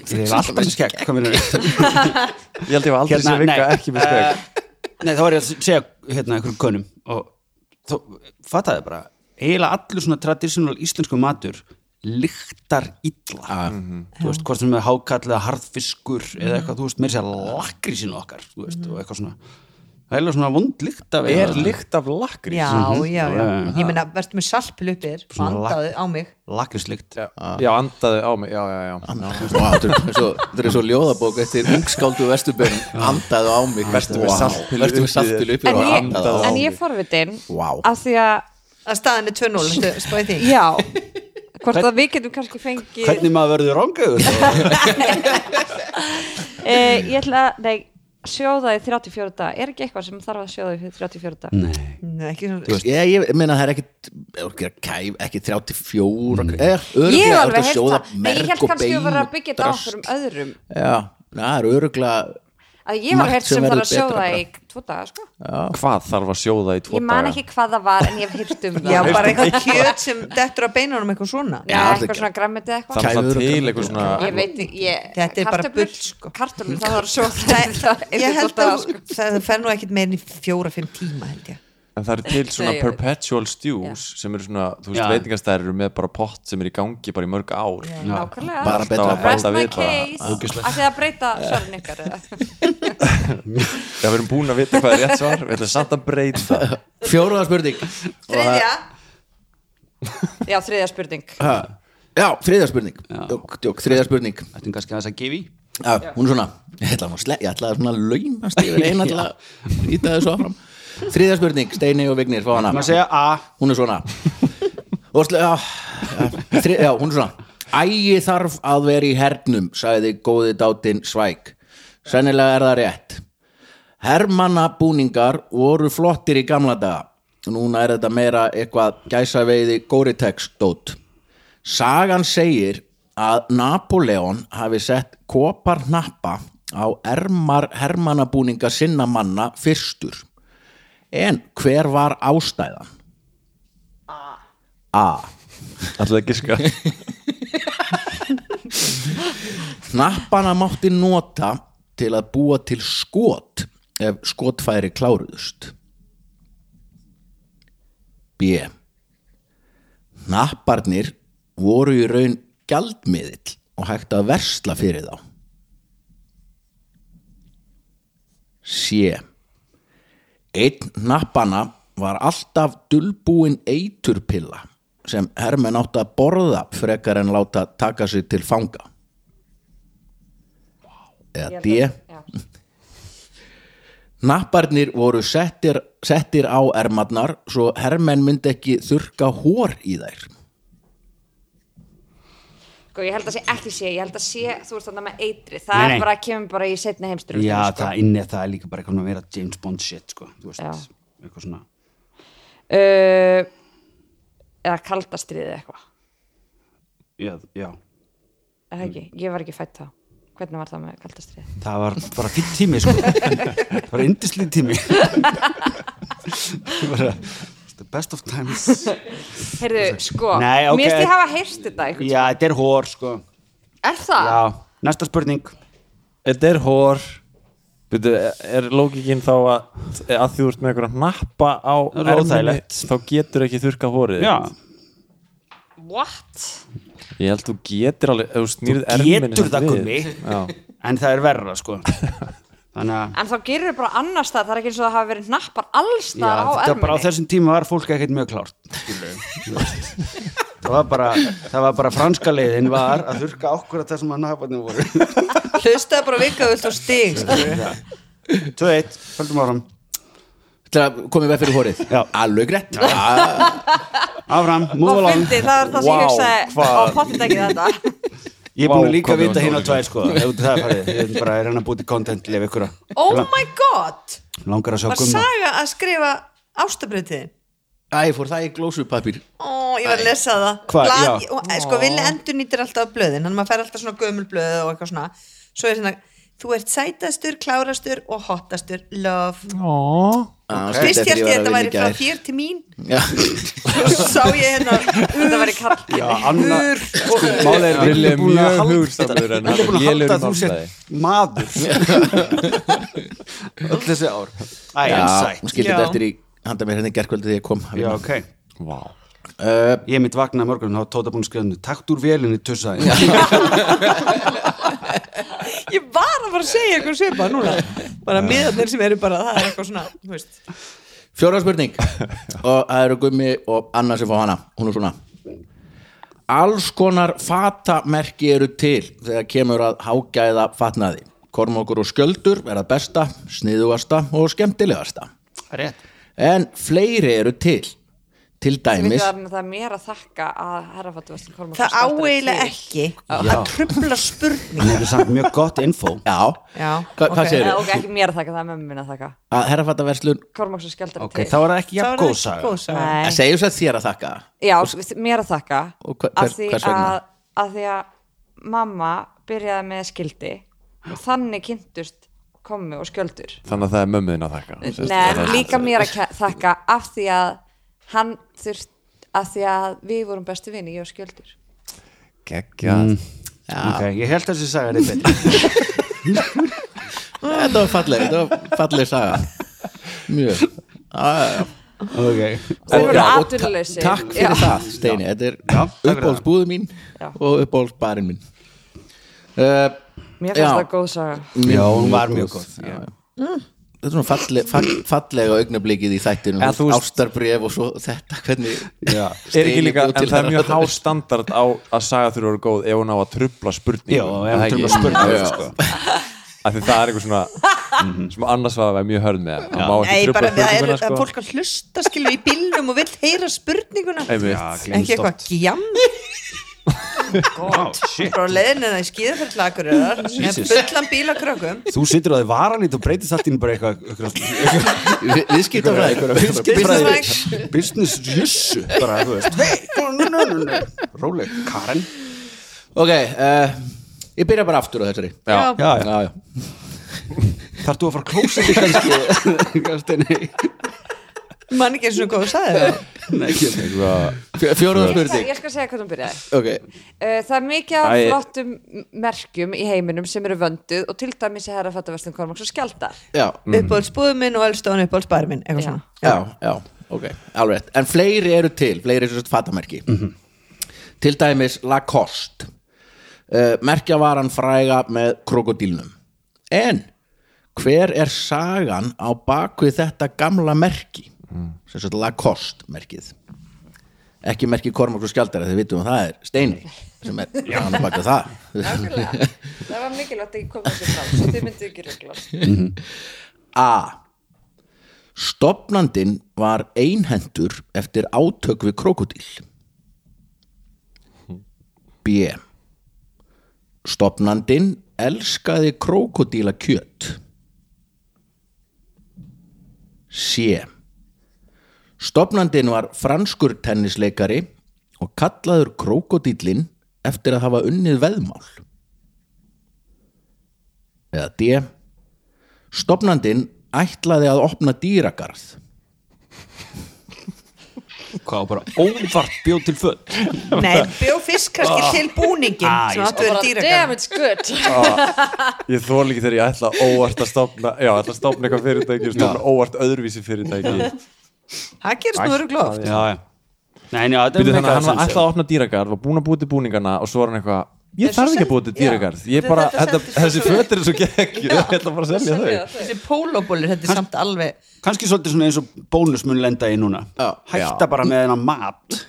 S6: ég hef alltaf með skegg hvað minnur
S3: Ég held ég var
S6: Hérna,
S3: aldrei sem vika ekki með skegg.
S6: Eh, nei, þá var ég að segja hérna einhverjum konum og þá fattaði bara eiginlega allur svona traditional íslensku matur lyktar illa þú veist, hvort sem er hákall eða harðfiskur eða eitthvað, þú veist, meir sér lakrísinu okkar, þú veist, og eitthvað svona það er eiginlega svona vond lykt af
S3: Er lykt af lakrís?
S5: já, já, já,
S6: Mhm.
S5: ég meina, verstu með salpil uppir
S6: Svona
S5: vandaði á mig
S6: lakríslykt
S3: Já, já, andaði á mig, já, já, já.
S2: Vá, Þetta er svo- þetta er svo ljóðabók eftir ungskáldu vesturbjörn andaðu á mig
S3: Vertu með
S2: Vá.
S3: saltpillu
S2: Vertu
S3: upp
S2: með
S3: í
S2: saltpilu
S3: þér.
S2: uppi
S3: En
S2: og
S3: ég-
S2: andaðu á
S3: en
S2: mig
S3: ég-
S4: ég forvitin
S2: Vá.
S4: að því að,
S5: að staðan er 2-0, ertu að spáði því
S4: já hvort að við getum kannski fengið
S6: hvernig maður verður rángaður
S4: Eh, ég ætla að, nei, sjóða í 34 dag er ekki eitthvað sem þarf að sjóða í 34 dag
S6: nei,
S5: Nei, ekki svona-
S2: Ég, ég meina það er ekkit ekki, kæf, ekki 34 mm. er,
S4: ég hef
S2: örglega
S4: alveg
S2: að
S4: heilt
S2: sjóða
S4: það nei, ég
S2: merg
S4: held
S2: og
S4: kannski
S2: bein
S4: að vera að
S2: og
S4: byggja þetta á
S2: drast
S4: fyrir öðrum
S2: já, það er örglega
S4: að ég var
S2: Margt
S4: heilt
S2: sem
S4: sem þarf
S2: verður
S4: að sjóða
S2: betra
S4: í tvo daga sko.
S3: Hvað þarf að sjóða í tvo
S4: ég man
S3: daga?
S4: ekki hvað það var en ég hef heilt um það
S5: já, bara eitthvað kjöt sem dettur að beina honum eitthvað svona
S4: Nei,
S2: Já, þetta er-
S4: eitthvað svona græmiti
S3: Það
S4: eða eitthvað
S3: er
S2: Kæfur
S3: alltaf
S2: og
S3: til
S2: grænmeti.
S3: eitthvað svona
S4: ég veit ekki, ég,
S5: Þetta er bara
S4: kartöflur-
S5: bull, sko.
S4: kartöflur, það var svo það
S5: ég held að
S4: sko-
S5: það það fer nú ekkit meir en í 4-5 tíma held ég
S3: En það eru til svona
S4: Nei, ég veit.
S3: perpetual stews sem eru svona, þú veist,
S6: Já.
S3: veitingastæðir eru með bara pott sem er í gangi bara í mörg ár
S4: nákvæmlega
S2: Bara
S4: Alltaf
S2: betra
S4: að
S2: að
S4: rest
S3: bæta
S4: my
S3: við bara.
S4: case að þið að breyta svörn ykkar eða?
S3: Já, við erum búin að vita hvað er rétt svar Við ætlum samt að breyta
S2: fjóruða spurning
S5: þriðja,
S4: já, þriðja spurning
S2: ha, já, þriðja spurning Jók, jók, þriðja spurning
S6: þetta er kannski aðeins að gefa í
S2: já, hún er svona, ég ætla, að sle, ég ætla að svona laumast yfir eina til að íta þessu áfram þriðja spurning, Steini og Vignir fá hana
S6: maður segja a
S2: hún er svona og slu, já, já, þri, já, hún er svona Ægi þarf að vera í hernum sagði góði dátinn Svæk sennilega er það rétt hermannabúningar voru flottir í gamla daga núna er þetta meira eitthvað gæsaveiði Goritex dót Sagan segir að Napoleon hafi sett kopar hnappa á ermar hermannabúninga sinna manna fyrstur en hver var ástæðan? A.
S3: Alltaf ekki sko
S2: Hnappana mátti nota til að búa til skot ef skotfæri kláruðust. B. Hnapparnir voru í raun gjaldmiðill og hægt að versla fyrir þá. C. Einn hnappana var alltaf dulbúin eiturpilla sem hermenn átt að borða frekar en láta taka sig til fanga. Eða D. Napparnir voru settir, settir á ermarnar svo hermenn myndi ekki þurka hór í þær.
S4: Sko, ég held að sé ekki sé, ég held að sé, þú veist þannig með eitri, það
S6: Nei,
S4: er
S6: nei.
S4: bara kemur bara í sko. setni heimstur.
S6: já, það inni það er líka bara eitthvað að vera James Bond shit sko, þú veist,
S4: Já.
S6: eitthvað svona
S4: Uh, eða kaldastriðið eitthvað,
S6: já, já,
S4: er það ekki, ég var ekki fætt þá. Hvernig var það með kaldastriðið?
S6: það var bara fýtt tími sko það var indislið tími það var uh, the best of times
S4: Heyrðu, sko,
S6: Nei, ok.
S4: mér stið hafa heyrst þetta eitthvað.
S6: já, þetta er hór sko
S4: Er það?
S6: já, næsta spurning
S3: Þetta er hór Byrju, er lókikinn þá að, að þú ert með einhverja nappa á
S6: Það er
S3: erminni,
S6: óþægilegt.
S3: þá getur ekki þurka hórið
S6: já,
S4: What?
S3: Ég held þú getur alveg ef Þú snýrð
S6: Þú
S3: erminni
S6: getur
S3: samt
S6: það,
S3: við.
S6: Gummi.
S3: Já.
S6: en það er verra sko þannig að
S4: En þá gerir bara annars það, það er ekki eins og það hafi verið nappar alls
S6: Já,
S4: það á
S6: þetta var bara á
S4: erminni.
S6: þessum tíma var fólk ekkert mjög klárt skilurðu, þú veist. það var bara það var bara franska leiðin var að þurka okkur að það sem að nabarnir voru
S5: hlustaði bara vikaðvöld og stig sko. skilurðu.
S6: 2-1, höldum áfram
S2: Til að komið veg fyrir hórið.
S6: Já.
S2: Alveg rétt. Ah,
S6: áfram,
S4: Og
S6: move along
S4: fyndi, það er það sem
S3: Vá,
S4: ég hugsaði
S3: hvað-
S4: á pottit ekki þetta.
S6: ég er búin að
S3: Vá,
S6: líka
S3: hvað við
S6: vita
S3: varum
S6: hérna
S3: dólir.
S6: tvær sko ef út í það er farið, ég er bara að reyna að búti content leif ykkur að
S5: oh my god
S6: langar að sjá
S5: var
S6: gumma
S5: saga að skrifa ástabriðtiðin
S2: Æ, fór það í glósupapir.
S5: Ó, ég var að lesa það
S6: Hva-
S5: Glad,
S6: já.
S5: og, eh, Sko, villi endurnýtir alltaf blöðin Þannig að maður fær alltaf svona gömul blöð og eitthvað svona Svo er svona, þú ert sætastur, klárastur og hottastur Love
S2: Ah,
S5: Fyrst
S2: þegar
S5: hérst ég
S2: var að
S5: þetta
S2: vinna í
S5: væri frá
S2: gær.
S5: þér til mín
S2: Já.
S5: Svo sá ég hérna
S4: Þetta var í kall.
S6: já, Anna sko, málið er
S3: Villi er
S6: villi búin að
S3: mjög
S6: halda
S3: hugstæður en
S6: villi
S3: hann um
S6: er búin að
S3: lélur
S6: halda að þú sér maður öll þessi ár æ,
S2: Já,
S6: en sætt
S2: hún skildi
S5: Já.
S2: þetta eftir í handa mér hérna í gerkvöldu þegar ég kom. að
S6: já,
S2: vinna.
S6: ok
S3: Vá
S6: Ég mitt vaknaði morgun og þá var Tóta búin að skrifa henni Takt úr vélinni tussaði
S5: Ég var að fara að segja eitthvað svipa núna Bara miðarnir sem eru bara, það er eitthvað svona þú veist.
S2: Fjóra spurning og það eru gummi og Anna sem fá hana hún er svona Alls konar fatamerki eru til þegar kemur að hágæða fatnaði Kormokur og skjöldur verða besta, sniðugasta og skemmtilegasta
S6: Rétt
S2: En fleiri eru til Til
S4: Ég veit
S2: dæmis
S4: að það er mér að þakka að herrafættuverslun Kormáks
S5: Það áeigilega ekki að trubla spurning
S6: Það er samt mjög gott info
S2: Já,
S5: Já,
S2: Hva,
S5: ok.
S2: hvað segirðu?
S4: Ok, ekki mér að þakka, það er mömmu mín að þakka
S2: Að herrafataverslun
S4: Kormáks og skjaldar
S6: Ok, þá er það ekki
S5: Þá
S6: jafn
S5: er það
S6: góð
S5: ekki
S6: saga
S5: góð saga.
S4: Nei,
S2: Segjum þess að þér að þakka
S4: já, s- mér að þakka
S2: Og hver-
S4: af
S2: hver-
S4: því
S2: hvers vegna?
S4: að- Af því að mamma byrjaði með skildi og þannig kynntust komu og skjöldur
S3: Þannig að það er mömmuðin að þakka sem sagt,
S4: Nei,
S3: það er-
S4: líka mér að ke- þakka af því að hann þurft af því að við vorum bestu vini, ég og skjöldur
S3: Geggjað
S2: Mm.
S6: Ok, ég held að þessi saga er eitthvað
S2: Þetta var falleg, þetta var falleg saga Mjög
S6: Ok
S4: Þeir
S2: Og-
S4: voru
S2: já, og ta-
S4: atvinnulausir.
S2: Takk fyrir
S4: Já.
S2: það, Steini Þetta er
S6: fyrir
S2: uppáhaldsbúðu mín
S4: Já.
S2: og uppáhaldsbarinn mín uh,
S4: Mér finnst
S2: Já.
S4: það góð saga
S6: Já, hún var mjög góð
S2: Já, já. Þetta er svona falleg, fall, fallega augnablikið í þættinu
S3: Eða þú veist-
S2: Ástarbref og svo þetta Hvernig
S6: Já.
S3: Er ekki
S2: Steini
S3: líka, en
S2: bjó
S3: það
S2: til
S3: er
S2: þennan
S3: mjög há
S2: þetta.
S3: standard á að saga þurfa að vera góð ef hún á að trubla spurningu
S6: Já, ef hún trufla
S2: Já.
S6: spurningar sko.
S3: af því það er eitthvað svona sem annars var að vera mjög hörð með það má
S5: Nei,
S3: ekki
S5: bara
S3: trubla
S5: það er
S3: spurninguna
S5: að
S3: sko
S5: fólk að hlusta skilur í bílnum og vill heyra spurninguna
S3: Einmitt.
S5: ekki
S6: gleymst
S5: eitthvað
S6: oft.
S5: gjam
S6: Vá, Oh, shit.
S5: frá leiðinu það hérna í skíðaferðlagur með
S6: Jesus.
S5: fullan bíl af krökkum
S6: Þú situr á því varanlít og breytist allt inn bara eitthvað eitthvað-
S2: Vi- Viðskiptafræði
S6: Viðskiptafræði.
S5: Business
S6: Business jussu bara, þú veist Nei, nú, nú, nú, nú. Róleg, Karen
S2: Ok, uh, ég byrja bara aftur á þessari
S3: Já.
S6: Já, já,
S2: Já, já
S6: þarf þú að fara klósa þig kannski Steini?
S5: Man ekki eins og hvað þú sagði það
S6: Nei, ekki
S2: Fjóruða
S4: Ég skal,
S2: spurning
S4: ég skal segja hvernig hún byrjaði
S2: Ok,
S4: Uh, það er mikið af
S3: Æ.
S4: flottum merkjum í heiminum sem eru vönduð og til dæmis í herrafattaverslun Kormáks og Skjaldar
S2: já,
S3: Mm.
S5: Uppáhaldsbúðu minn og eldstóðan uppáhaldsbæri minn Eitthvað
S4: Já.
S5: svona
S2: já, já, ok Alveg, rétt. en fleiri eru til, fleiri eru sérst fatamerki Til dæmis Lacoste uh, Merkjavaran fræga með krokodílnum En hver er sagan á bakvið þetta gamla merki mm. sem sagt Lacoste merkið ekki merki Kormáks og Skjaldara þið vitum að það er Steini sem er hann að baka það
S4: Nákvæmlega, það var mikilvægt að ég kom þessu frá svo þið myndu ekki ruglast
S2: A. Stopnandin var einhendur eftir átök við krokodil. B. Stopnandin elskaði krokodila kjöt. C. Stopnandin var franskur tennisleikari og kallaður krokodillin eftir að hafa unnið veðmál. Eða D. Stopnandin ætlaði að opna dýragarð
S6: Hvað, bara óvart bjóð til föt
S5: Nei, bjó fyrst kannski
S3: Ah.
S5: til búningin sem áttu verið dýragarð
S4: damn it's good
S3: Ég þóla ekki þegar ég ætla óvart að stopna Já, ætla að stopna eitthvað fyrirtæki og stopna óvart öðruvísi fyrirtæki
S5: Það gerist nú öruglega oft
S6: Já, já Nei, já, þetta
S3: Býtu
S6: er
S3: þannig að hann var
S6: sens,
S3: ætla að opna dýragarð var búin að búið til búningana og svo var hann eitthvað Ég
S5: En svo
S3: þarf ekki að
S5: sel-
S3: búið til dýragarð
S5: Já.
S3: Ég bara, þetta,
S5: Þetta seldist
S3: þessi
S5: svo vel.
S3: fötir er svo gegg Ég ætla bara að selja þau
S5: Þessi pólóbólur, þetta er samt alveg
S6: já. Kannski svolítið svona eins og bónus mun lenda í núna
S2: Já.
S6: Hætta bara með hennar mat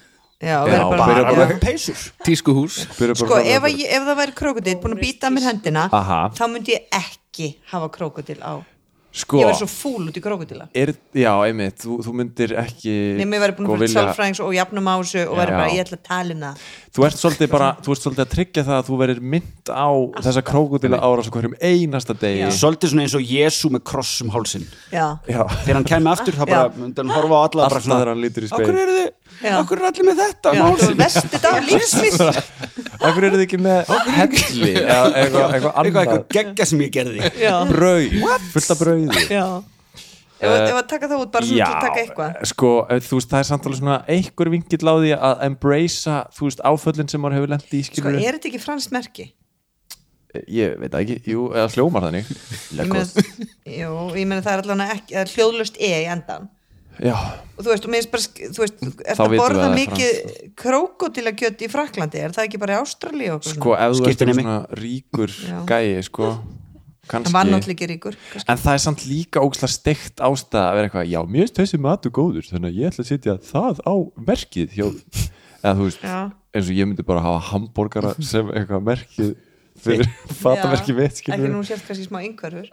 S5: Já, verið
S3: bara-
S5: bara
S3: bara-
S6: Bara með peysur
S2: Tískuhús
S3: Byrja bara
S5: Sko,
S3: að-
S5: ef, að ég, ef það væri krokodil búin að býta mér hendina
S3: Aha.
S5: þá myndi ég ekki hafa krokodil á
S3: sko
S5: Ég væri svo fúl út í krokodila
S3: er, Já, einmitt, þú, þú myndir ekki
S5: Nei, mér væri búin
S3: sko
S5: að fyrir
S3: vilja-
S5: sálfræðings og jafnum á þessu og væri
S3: Já.
S5: bara, ég ætla að tala um það
S3: Þú ert svolítið bara, þú ert svolítið að tryggja það að þú verir mynd á þessa krókudila árás á hverjum einasta degi
S6: Svolítið svona eins og Jésu með kross um hálsin
S5: Já,
S3: Já,
S6: Þegar hann kæmi aftur, þá bara myndi hann horfa á alla
S3: Alltaf þegar hann lítur í
S6: Akkur
S3: speil
S6: eru þið,
S5: Já.
S6: akkur eru allir með þetta
S5: já
S6: um
S5: þú
S6: hálsin
S5: vesti dag lífsmið
S3: Akkur eru þið ekki með helli eða eitthvað eitthvað
S6: Eitthvað eitthvað
S3: annað
S6: geggja sem ég gerði
S5: Já,
S3: Brauð, fullt af brauði
S5: já Ef að- ef að taka það út bara svona til að taka eitthvað
S3: sko, eh, þú veist, það er samt alveg svona einhver vingill á því að embracea, þú veist, áföllin sem maður hefur lent í,
S5: Sko,
S3: skilur
S5: er þetta ekki franskt merki?
S3: Ég veit það ekki, jú, eða hljómar þannig
S5: Ég meina- Jú, ég meina það er allan ekki, það er hljóðlust e í endan
S3: Já,
S5: og þú veist, og mér finnst bara, sk- þú veist, er
S3: Þá vitum
S5: það
S3: við
S5: borða
S3: að það er
S5: mikið krokodilakjöt í Fraklandi, er það ekki bara í Ástrali og okkur?
S3: sko, ef þú ert eitthvað
S6: Skiptir nemi.
S3: svona ríkur
S5: Já.
S3: gæi, sko
S5: hann var
S3: kannski,
S5: náttúrulega ekki ríkur kannski.
S3: en það er samt líka ógslag steikt ástæða að vera eitthvað, já, mér finnst þessi matu góður þannig að ég ætla að setja það á merkið hjá, eða þú veist
S5: Já.
S3: eins og ég myndi bara hafa hambúrgara sem eitthvað merkið fyrir fatamerkið mitt,
S5: ekki
S3: skilur
S5: nú sért kannski smá yngvarfur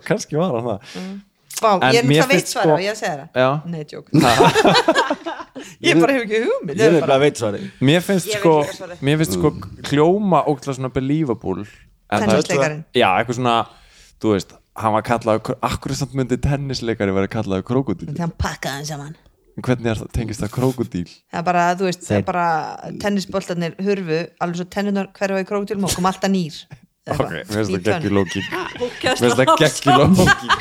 S3: kannski var hann það
S4: Mm.
S5: Vá,
S3: En
S5: ég
S3: mér
S5: er náttúrulega veit
S3: finnst
S5: svara
S3: sko-
S5: og ég segi það
S3: Já.
S5: Nei, tjók Ég bara hef ekki hugmynd
S6: Ég er
S5: bara,
S6: bara veit svari
S3: Mér finnst
S4: Ég veit
S3: sko,
S4: líka svarið.
S3: mér finnst sko kljóma ógla svona believable en það-
S5: Tennisleikarin.
S3: Já, eitthvað svona, þú veist hann var kallaður, akkur samt myndi tennisleikari verið kallaður krokodil
S5: Þegar hann pakkaði hann saman
S3: hvernig er það, tengist það krokodil
S5: Það er bara, þú veist, það er bara tennisboltarnir hurfu, alveg svo tennunar hverfa í krókutilum og kom alltaf nýr Eða
S3: ok,
S5: eitthvað.
S3: mér finnst það
S5: Í tönn.
S3: geggjur lókin mér finnst það geggjur lókin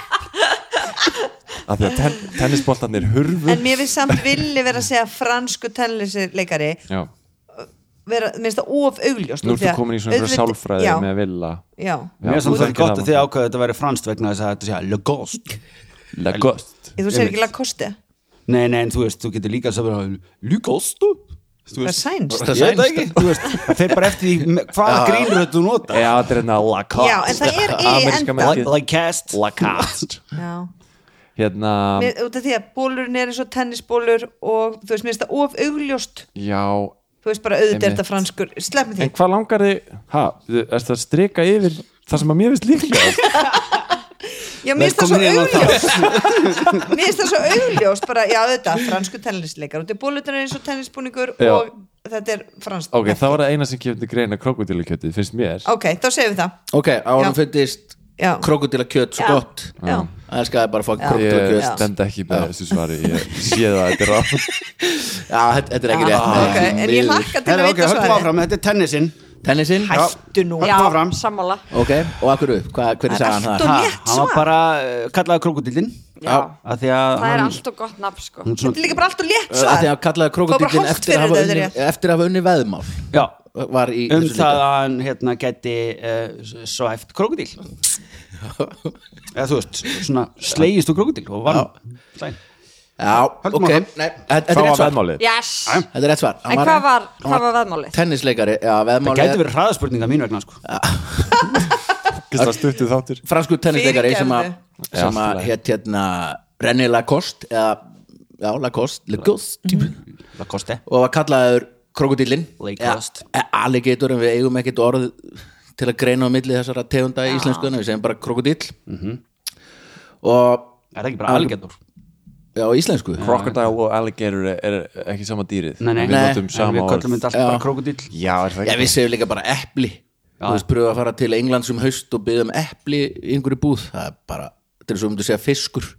S3: að því að ten, tennisboltarnir hurfu
S5: En mér finnst samt villi vera að segja fransku tennisleikari
S3: já,
S5: vera, mér finnst það of augljóst
S3: nú
S5: því
S3: ertu
S5: að
S3: komin í svona einhverja
S5: auðvitað-
S3: sálfræði
S5: já,
S3: með villa
S5: Já,
S6: Mér er
S3: þú
S6: samt
S3: þekkir
S6: þetta gott
S3: það
S6: að þið
S3: bara.
S6: ákvæðu að þetta væri franskt vegna þess að þetta sé að le gost
S3: la gost
S5: Ég, þú segir ekki Lacoste,
S6: Nei, nei, en þú veist, þú getur líka að segja le gost
S5: það er sænst
S6: Ég veit það ekki, þú veist, þeir bara eftir því me- hvaða grínröð þú nota
S3: já, þetta er hérna la
S5: Já, en
S3: cost
S5: það er í
S3: Ameríska
S5: enda
S3: merkið.
S6: Like cast
S3: la cost
S5: Já,
S3: hérna
S5: mér, út af því að bólurinn er eins og tennisbólur og þú veist, mér finnst það of augljóst
S3: Já,
S5: þú veist bara auðvitað er
S3: Einmitt.
S5: þetta franskur slepp með
S3: en
S5: því,
S3: hvað langar þið ha, erst það að strika yfir það sem að mér finnst líklega
S5: já mér finnst það svo
S6: Velkomin í þennan
S5: augljóst mér finnst það svo augljóst bara, já auðvitað, franskur tennisleikar út af bólurinn er eins og tennisbúningur
S3: Já.
S5: og þetta er franskt
S3: ok, það var það eina sem kefndi greina krokodilukjötið, finnst mér
S5: ok, þá segjum við það
S2: Ok, á hann
S5: Já.
S2: fyndist
S5: Já.
S2: krokodila kjöt svo
S5: Já.
S2: gott
S5: Já.
S2: Það elskaði bara að fá krokodila
S3: ég
S2: kjöt
S3: stend ekki með þessu svari ég sé það, þetta er rátt
S2: Já, þetta- þetta er ekki rétt
S5: Ah,
S2: nei,
S5: ok, en ég
S2: miður.
S5: hlakka til að
S6: Herra, ok,
S5: vita
S6: höldum
S5: svarið
S6: áfram, þetta er tennisinn
S2: Tennisinn,
S5: hættu nú
S6: Já. Áfram.
S4: sammála
S2: ok, og akkur upp, hvað, hvernig
S5: Það er
S2: sagði hann
S5: allt
S2: það?
S5: og-
S6: Ha,
S5: Létt
S6: Hann var eh,
S5: svar.
S6: bara, uh, kallaði krokodillin
S4: já.
S6: að því að
S4: það er
S6: hann-
S4: allt og gott nafn sko
S6: hún
S5: Þetta
S6: svona,
S5: er líka bara allt og
S2: að
S5: létt
S2: því
S5: svar
S2: að kallaði
S5: Það var bara
S2: krokodillin
S5: hollt
S2: eftir, að
S5: fyrir
S2: hafa
S5: þau,
S2: unni-
S5: þetta er
S2: eftir að hafa unni veðmál
S6: já,
S2: var í
S6: um
S2: þessu
S6: það
S2: líka.
S6: að hann hérna geti uh, svæft krokodil eða þú veist, svona slegist úr krokodil og vann Sæl.
S2: já,
S6: Höldum
S2: ok,
S6: áfram.
S2: nei, þetta er
S3: Hvað
S2: rétt
S3: var
S2: svar
S3: veðmálið?
S4: yes.
S2: þetta er rétt svar Hann
S4: en hvað var, hvað var veðmálið?
S2: tennisleikari, já,
S6: það
S2: veðmálið
S6: gæti verið hraðaspurninga mín vegna sko.
S3: Gísla stuttið þáttir
S2: fransku tennisleikari sem að
S3: Fyrirgefðu.
S2: sem
S3: Já, allt í
S2: að
S3: lagi.
S2: hétt hérna René Lacoste eða, já, Lacoste, Lacoste
S6: það kosti
S2: og var kallaður krokodillin
S6: Lacoste.
S2: alligator en við eigum ekkert orð til að greina á milli þessara tegunda í íslensku en við segjum bara krokodill
S3: Mhm.
S2: og
S6: er það ekki bara algjörður
S2: já, á íslensku
S3: Crocodile og alligator er, er ekki sama dýrið
S6: Nei, nei.
S3: Við notum
S6: en
S3: sama
S6: við
S3: orð
S6: köllum þetta alltaf
S2: Já.
S6: bara krokodil
S3: Já, er það
S2: Já,
S3: ekki?
S2: við segjum líka bara epli Þú veist, pröfa að fara til Englands um haust og byggja um epli í einhverju búð Það er bara, þetta er svo um þú segja fiskur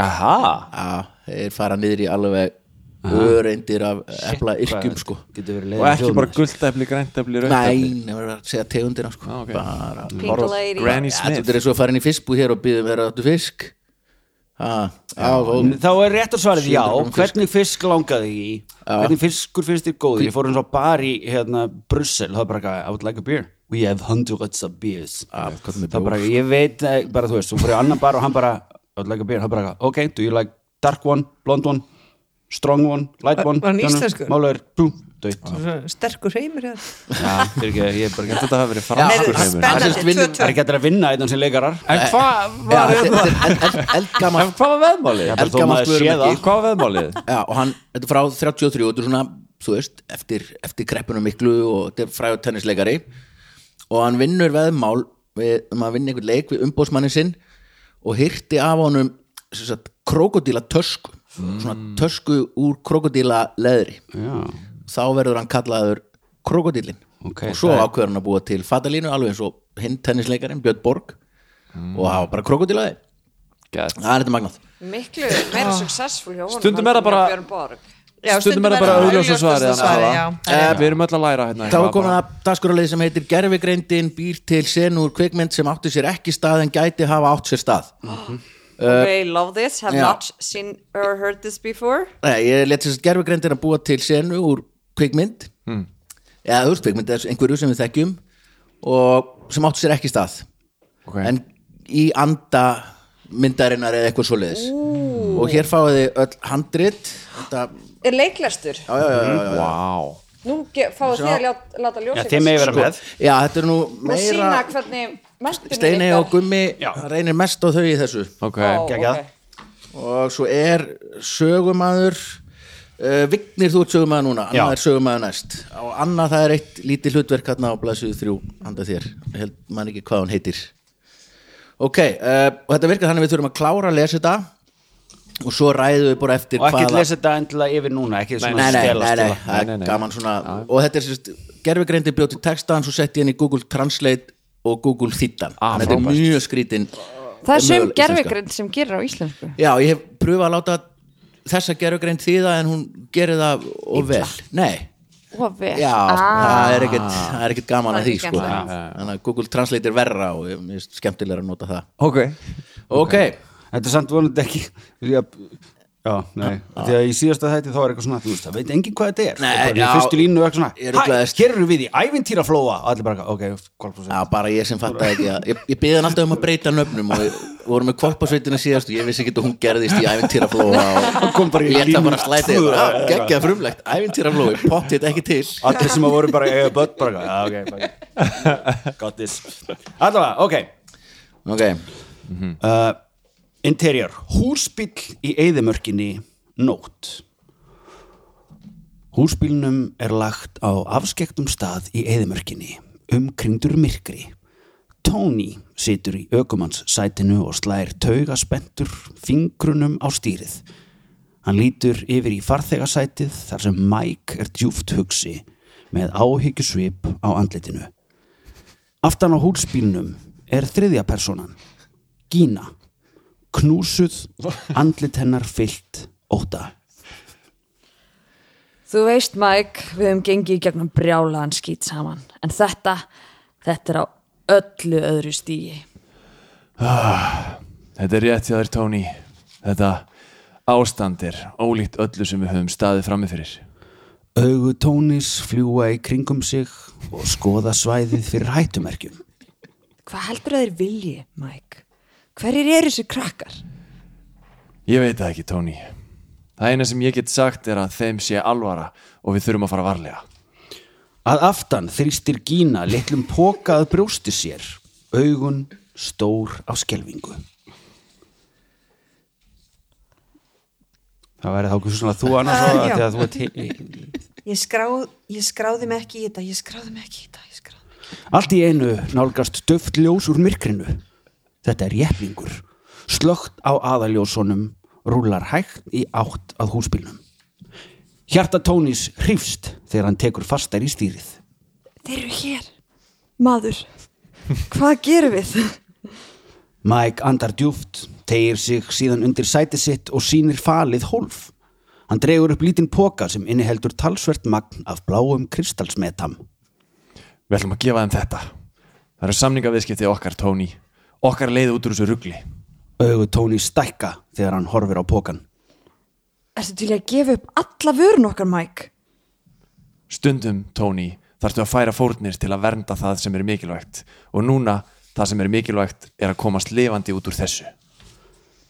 S3: Aha
S2: Já, þeir fara niður í alveg öreindir af epla yrkjum sko
S6: getur verið
S3: Og
S6: leiðin
S3: ekki bara guldefli, græntefli, rauðefli
S2: Næn, það verður að segja tegundina sko
S3: ok.
S2: Bara
S4: Pink Lady
S3: Granny
S2: ja,
S3: Smith
S2: Þetta er svo að fara inn í fiskbúð hér og byggja um verður áttu fisk Já, já,
S6: þjóðin.
S2: þó
S6: þá er réttar svarið já,
S2: Sjöundur
S6: hvernig fisk langaði þig í hvernig fiskur finnst þér góður ég fór eins og bar í hérna, Brussel það er bara eitthvað, I would like a beer we have hundreds of beers
S2: Já, hvað með
S6: það er
S2: bjór?
S6: bara, ég veit, eh, bara þú veist þú fyrir annan bar og hann bara, I would like a beer það er bara, eitthvað, ok, do you like dark one, blonde one strong one, light one
S5: Var hann íslenskur?
S6: málaður, bú, dött
S5: Sterkur heimur hjá þér.
S6: Já, fyrir ekki, ég er bara
S3: Þetta hafa verið
S2: Heyrðu,
S3: franskur
S5: Nei,
S3: heimur
S2: Það sést
S5: Spennandi,
S2: vinnum-
S6: Það er
S5: 2-2
S6: ekki hægt að vinna einn sem leikarar En hvað
S2: Já, þetta er- þetta er eldgammal
S3: Hvað var veðmálið?
S6: bara þó
S2: Eldgamalt
S6: maður sé
S2: vörumerki. sko.
S6: það
S3: Hvað var veðmálið?
S2: Já, og hann, þetta er frá 33 og þetta er svona, þú veist, eftir, eftir kreppunum miklu og þetta er fræðu tennisleikari og hann vinnur veðmál við, um að vinna einhvern leik við umbóðsmannin sinn og hirti af honum sem sagt, krokodíla tösku svona tösku úr krokodíla leðri
S6: Mm. Já,
S2: þá verður hann kallaður krokodílin
S6: Ok,
S2: og svo
S6: það er-
S2: ákveður hann að búa til fatalínu alveg eins og hinn tennisleikarinn Björn Borg
S6: Mm.
S2: og hafa bara krokodílaði
S3: Gæt
S2: það er þetta magnað
S4: miklu meira successful hjá honum
S3: Stundum er
S4: heldur
S3: það bara-
S4: en hjá Björn Borg.
S5: Já,
S3: Stundum er það bara auðljósa svarið
S5: augljósasta svarið, já.
S3: þannig að- Við erum öll að læra hérna
S2: Þá er
S3: eitthvað
S2: komin
S3: bara.
S2: að dagskoralegi sem heitir Gervigreindin býr til senur kvikmynd sem átti sér ekki stað en gæti hafa átt sér stað
S3: Mm.
S2: Uh,
S4: they love this, have
S2: já.
S4: not seen or heard this before
S2: Nei, ég let sér gerfigreindin að búa til senu úr kvikmynd
S3: Mm.
S2: eða úr kvikmynd eða einhverju sem við þekkjum og sem átti sér ekki stað
S3: Ok.
S2: en í anda myndarinnar eða eitthvað svoleiðis Ooh. og hér fáið þið öll handrit þetta,
S4: er leiklestur,
S2: já, já, já, já, já.
S3: Vá
S4: nú ge- fáið þið að ljá- láta ljósa
S6: já þeim með vera með
S2: já, þetta er nú
S4: og sína
S2: meira
S4: hvernig mentunin
S2: Steini
S4: ykkar-
S2: og Gummi hann reynir mest á þau í þessu
S3: Ok,
S4: Ó,
S6: geggjað.
S4: ok.
S2: og svo er sögumadur uh, Vignir þú ert sögumadur núna
S6: Já.
S2: annað er sögumadur næst og annað það er eitt lítið hlutverk hérna á blaðsöðu þrjú handa þér, ég held man ekki hvað hún heitir ok, uh, og þetta virkar þannig að við þurfum að klára að lesa þetta og svo ræðum við bara eftir
S6: Og ekkert
S2: hvaða
S6: lesa þetta endilega yfir núna Ekki svona
S2: nei, nei,
S6: stela,
S2: nei, nei,
S6: stela
S2: það
S3: Nei, nei,
S2: er
S3: nei.
S2: gaman svona og þetta er sérst, gerfugreindi bjóti textaðan svo sett ég hann í Google Translate og Google þýttan,
S3: Ah,
S2: þetta er
S3: frábært.
S2: mjög skrítin
S4: það er sem
S2: möguleg íslenska.
S4: gerfigrind sem gerir á íslensku
S2: Já, ég hef pröfað að láta þessa gerugreind þýða en hún gerir það og vel. Nei,
S4: og vel
S2: já, það er ekkert, Ah. það er ekkert gaman
S4: Það er
S2: að því
S4: ekki
S2: sko.
S4: skemmtilegt.
S2: Þannig að Google Translate er verra og ég mér finnst skemmtilega að nota það.
S3: okay.
S2: Ok,
S6: Þetta er samt vonandi ekki Því að Já, nei, því að í síðasta þætti þá er eitthvað svona, þú veist, það veit enginn hvað þetta er
S2: Nei,
S6: Það er bara í
S2: já.
S6: fyrstu línu og eitthvað
S2: Ég
S6: svona, hæ,
S2: ruglaðist.
S6: hér eru við í ævintýraflóa og allir bara, ok, kvalpa
S2: já, bara ég sem fatt ekki að, ég, ég byði hann alltaf um að breyta nöfnum og við vorum með kvalpasveitina síðast og ég vissi ekki að hún gerðist í ævintýraflóa
S6: Hún kom
S2: og
S6: bara í
S2: ég ætla
S6: línu
S2: bara að slæta
S6: tvö,
S2: yfir,
S6: eða
S2: geggjað frumlegt, ævintýraflói, pott hitt ekki til.
S6: allir sem að voru bara eiga börn, bara, já, ok, bara, got this Allavega, ok,
S2: Ok,
S6: uh, Interior Húsbíll í eyðimörkinni Nótt Húsbílnum er lagt á afskektum stað í eyðimörkinni umkringdur myrkri Tony situr í ökumanns sætinu og slær tauga spendur fingrunum á stýrið Hann lítur yfir í farþegasætið þar sem Mike er djúft hugsi með áhyggjusvip á andlitinu. Aftan á húsbílnum er þriðja personan Gína knúsuð, andlit hennar fyllt óta
S4: Þú veist Mike, við höfum gengið í gegnum brjálaðan skýt saman en þetta, þetta er á öllu öðru stígi
S3: Þetta er rétt hjá þér Tony Þetta ástand er ólíkt öllu sem við höfum staðið frammi fyrir.
S6: Augu tónis fljúa í kringum sig og skoða svæðið fyrir hættumerkjum.
S4: Hvað heldur að þeir vilji, Mike? Hverjir eru þessi krakkar?
S3: Ég veit það ekki, Tony. Það eina sem ég get sagt er að þeim sé alvara og við þurfum að fara varlega.
S6: Að aftan þrýstir Gína litlum pokað brjósti sér, augun stór á skelvingu. Það væri þá ekki svona þú annars
S5: Ah,
S6: að
S5: já.
S6: því að þú ert hi-
S5: Ég, skrá, ég skráði mig ekki í þetta, ég skráði mig ekki í þetta, ég skráði mig.
S6: Allt í einu nálgast döft ljós úr myrkrinu. Þetta er jeplingur. Slögt á aðaljósunum rúlar hægt í átt að húsbílnum. Hjarta Tónis hrifst þegar hann tekur fastar í stýrið.
S4: Þeir eru hér. Maður, hvað gerum við?
S6: Mike andar djúft, tegir sig síðan undir sæti sitt og sýnir falið hólf. Hann dregur upp lítinn poka sem inniheldur talsvert magn af bláum kristalsmetam.
S3: Við ætlum að gefa þeim þetta. Það eru samningaviðskipti okkar, Tony. Okkar leið út úr þessu rugli.
S6: Augu Tony stækka þegar hann horfir á pokan.
S4: Ertu til í að gefa upp alla vörun okkar, Mike?
S3: Stundum, Tony, þarftu að færa fórnir til að vernda það sem er mikilvægt. Og núna, það sem er mikilvægt er að komast lifandi út úr þessu.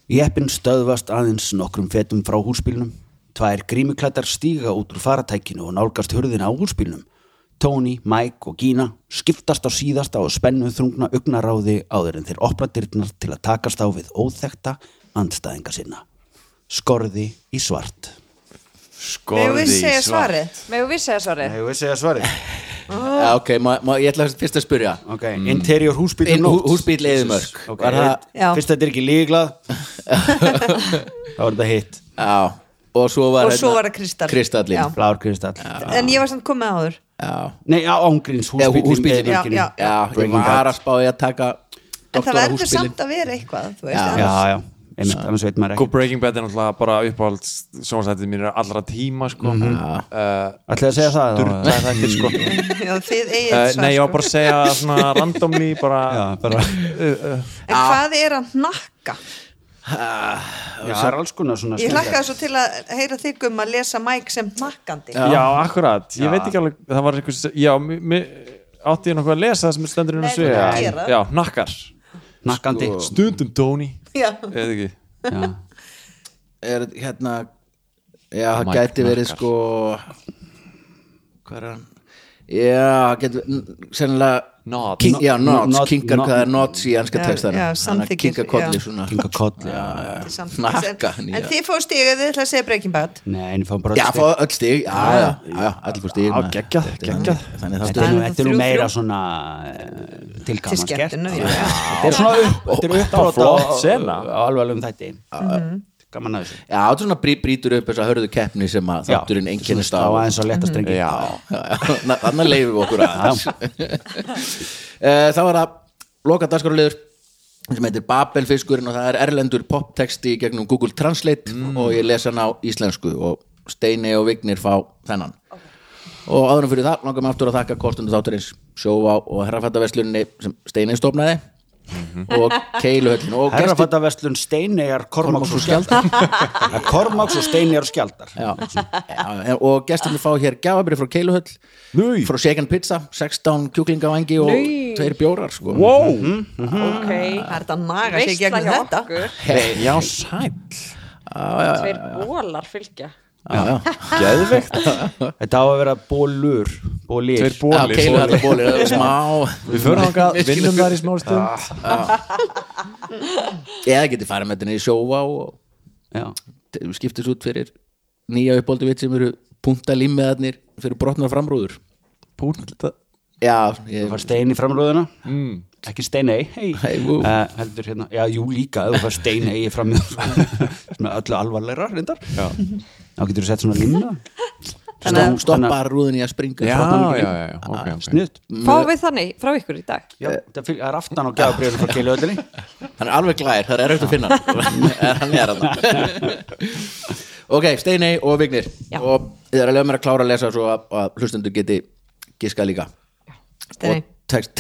S6: Jeppin stöðvast aðeins nokkrum fetum frá húsbílnum. Tvær grímuklættar stíga út úr faratækinu og nálgast hurðina á húsbílnum. Tony, Mike og Gina skiptast á síðasta og spennu þrungna augnaráði áður en þeir opna dyrnar til að takast á við óþekta andstæðinga sinna. Skorði í svart.
S5: Megum
S3: Skorði
S5: við segja svarið?
S4: Megum við segja svarið?
S6: Hefur við segja svarið? Ah.
S2: Já, ok, ma, ma, ég ætla fyrst að spyrja
S6: Ok, interior húsbíl
S2: Inn- hú- húsbíll eyðimörk.
S6: Ok,
S2: Var það-
S5: Já.
S6: fyrst að þetta er ekki líklað þá er þetta hitt
S2: Já, og svo var,
S5: Og svo
S2: hérna-
S5: var það kristall.
S2: kristallinn.
S5: Já.
S6: Blár kristall
S5: En ég var samt komið áður.
S2: Já,
S6: Nei, á ángríns
S2: Eða hú-
S6: húsbíllinn
S2: húsbíllinn.
S6: er í
S5: Já,
S6: virkinu.
S5: já,
S2: já, ég
S6: Breaking
S2: var
S6: Bad.
S2: að spáði að taka
S5: En það
S2: doktora
S5: verður
S2: húsbílinn.
S5: samt að vera eitthvað, þú veist.
S2: Já.
S5: annars-
S6: Já, já, einmitt, annars veit maður
S3: Sko
S6: ekki
S3: Breaking Bad er náttúrulega bara uppáhald sjónvarsættið mínir allra tíma sko. mm
S6: Ætlaði að segja það? þá?
S3: Durla þetta sko
S5: Já, þið eigið
S3: uh,
S5: svar,
S3: Nei, ég var
S5: sko.
S3: bara að segja svona randomly bara,
S6: Já, bara
S5: En hvað er að nakka?
S6: Já, það er alls konar svona
S5: Ég
S6: skemmtilegt.
S5: hlakkaði svo til að heyra þig um að lesa Mike sem nakkandi.
S3: já. akkurat, ég veit ekki alveg það var eitthvað, sem- já, mi- mi- átti ég nokkuð að lesa það sem er stendur inn
S5: Nei,
S3: að segja
S5: þú gerir það.
S3: Já, nakkar
S6: Nakkandi
S3: Stundum Tony
S5: Já.
S3: Eða ekki
S6: Já.
S2: er, hérna, Já, það
S3: Mike
S2: gæti verið
S3: Nakkar.
S2: sko Hvað er hann? Já, það gæti n- sennilega
S3: Nods.
S2: King, Já,
S6: Not-
S2: nods,
S6: not-
S2: kinkar
S6: not-
S2: hvað er nods í enska
S5: Já,
S2: textanum
S5: já,
S2: Hann að
S5: samþykkir,
S2: kinka kolli
S5: já.
S2: svona
S6: Kinga koll Já,
S5: samt-
S2: Nakka,
S5: en,
S2: nýja.
S5: en þið fóðu stigið, þið ætlaði að segja Breaking Bad
S6: Nei, en ég fáum bara
S2: Já,
S6: öll
S2: fá
S6: stig.
S2: öll stig Já, já, já, já, öll fór stig
S3: Já, geggjað, geggjað.
S2: Þannig það
S6: Þetta er nú-
S5: Þannig
S6: þetta er
S5: þrjú,
S6: nú meira
S5: þrjú.
S6: svona
S5: til
S6: tilkamans gert Ah.
S5: skemmtinu
S6: Þetta
S5: já.
S6: er svona upp Þetta er uppbrot
S3: flott
S6: á-
S3: sena.
S6: á Alveg alveg um þætti Gaman að þessu
S2: Já, þetta er svona brý- brýtur upp þessa hörðu keppni sem að
S6: Já.
S2: þátturinn einkennist á
S6: Svona stá aðeins á létta strengi
S3: Já,
S2: Þannig leifum við okkur aðeins Eh, Það var að loka dagskorulegur sem heitir Babelfiskurinn og það er erlendur poptexti í gegnum Google Translate og ég les hann á íslensku og Steini og Vignir fá þennan og áðurum fyrir það langar mig aftur að þakka kostundu þátturins sjóvá og herrafættaverslunni sem Steini stofnaði og keiluhöllin og gestir
S6: Herrafattaverslun Steineiar Kormáks og Skjaldar Ja, Kormáks og Steineiar og Skjaldar
S2: já, já, og gestinni fá hér gjafabrið frá Keiluhöll
S3: Nú.
S2: frá Shaken Pizza, 16 kjúklingavangi og
S4: Nei.
S2: tveir bjórar sko.
S3: Wow,
S4: Ok.
S5: Það er þetta að naga sig gegnum þetta
S2: Hey,
S3: já sæl
S4: Tveir bólar fylgja.
S2: já, já.
S3: Geðvegt
S6: Þetta á að vera bólur Bólir
S3: Tveir
S2: Já,
S3: bólir
S2: Keiluhöll og bólir, það er smá
S3: Við förum þangað, vinnum þar í smá stund
S2: eða getið farið með þetta niður í sjóvá og
S6: Já
S2: t- skiptist út fyrir nýja uppbóldu vitt sem eru punta límiðarnir fyrir brotnar framrúður
S3: Púnta
S2: já, ég,
S6: Þú fær stein í framröðuna Ekki stein ei, hei
S2: Hey, vú.
S6: heldur hérna, já, jú líka ef Þú fær stein ei í framröðuna Sem er öllu alvarlegra reyndar Þá getur þú sett svona limna
S2: stopp, stoppar rúðin í að springa
S3: Já,
S2: Stofnar-
S3: já, já, já, ok, ok.
S6: Snutt
S4: Fá við þannig frá ykkur í dag?
S6: Já, það fyl- það er aftan á gjafabriðinu frá keilu öllinni
S2: hann er alveg glær, það er erfitt að finna hann. er hann er hann ok, Steinei og Vignir
S4: Já.
S2: og þið er að lega mér að klára að lesa svo að, að hlustundu geti giska líka
S5: Steiney.
S2: og text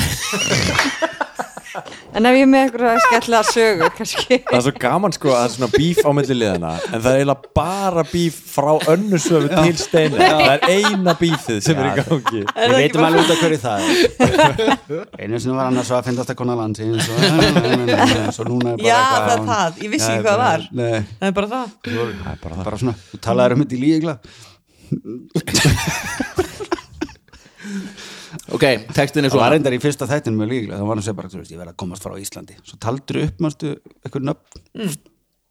S4: En en ef ég er með einhverja skemmtilega sögu kannski
S3: Það er svo gaman sko að það er svona bíf á milli liðana en það er eiginlega bara bíf frá önnu söfu til steinu það er eina bífið sem er í gangi
S6: Við veitum alveg út af hverju það er Einu sinni var annars að finnast að kona landi Svo, svo núna er bara
S5: Já,
S6: eitthvað
S5: það er
S6: hún-
S5: það. Ég vissi
S6: Já,
S5: ekki hvað
S6: bara-
S5: var. það
S6: Nei,
S5: er bara það
S6: það er bara það Bara svona, þú talaðir um þetta í líkla
S2: ok, textin er
S6: Svo
S2: svo
S6: var reyndar í fyrsta þættinu með líkla Það var hann að segja bara, þú veist, ég verð að komast frá Íslandi Svo taldur upp, mannstu, eitthvað nöfn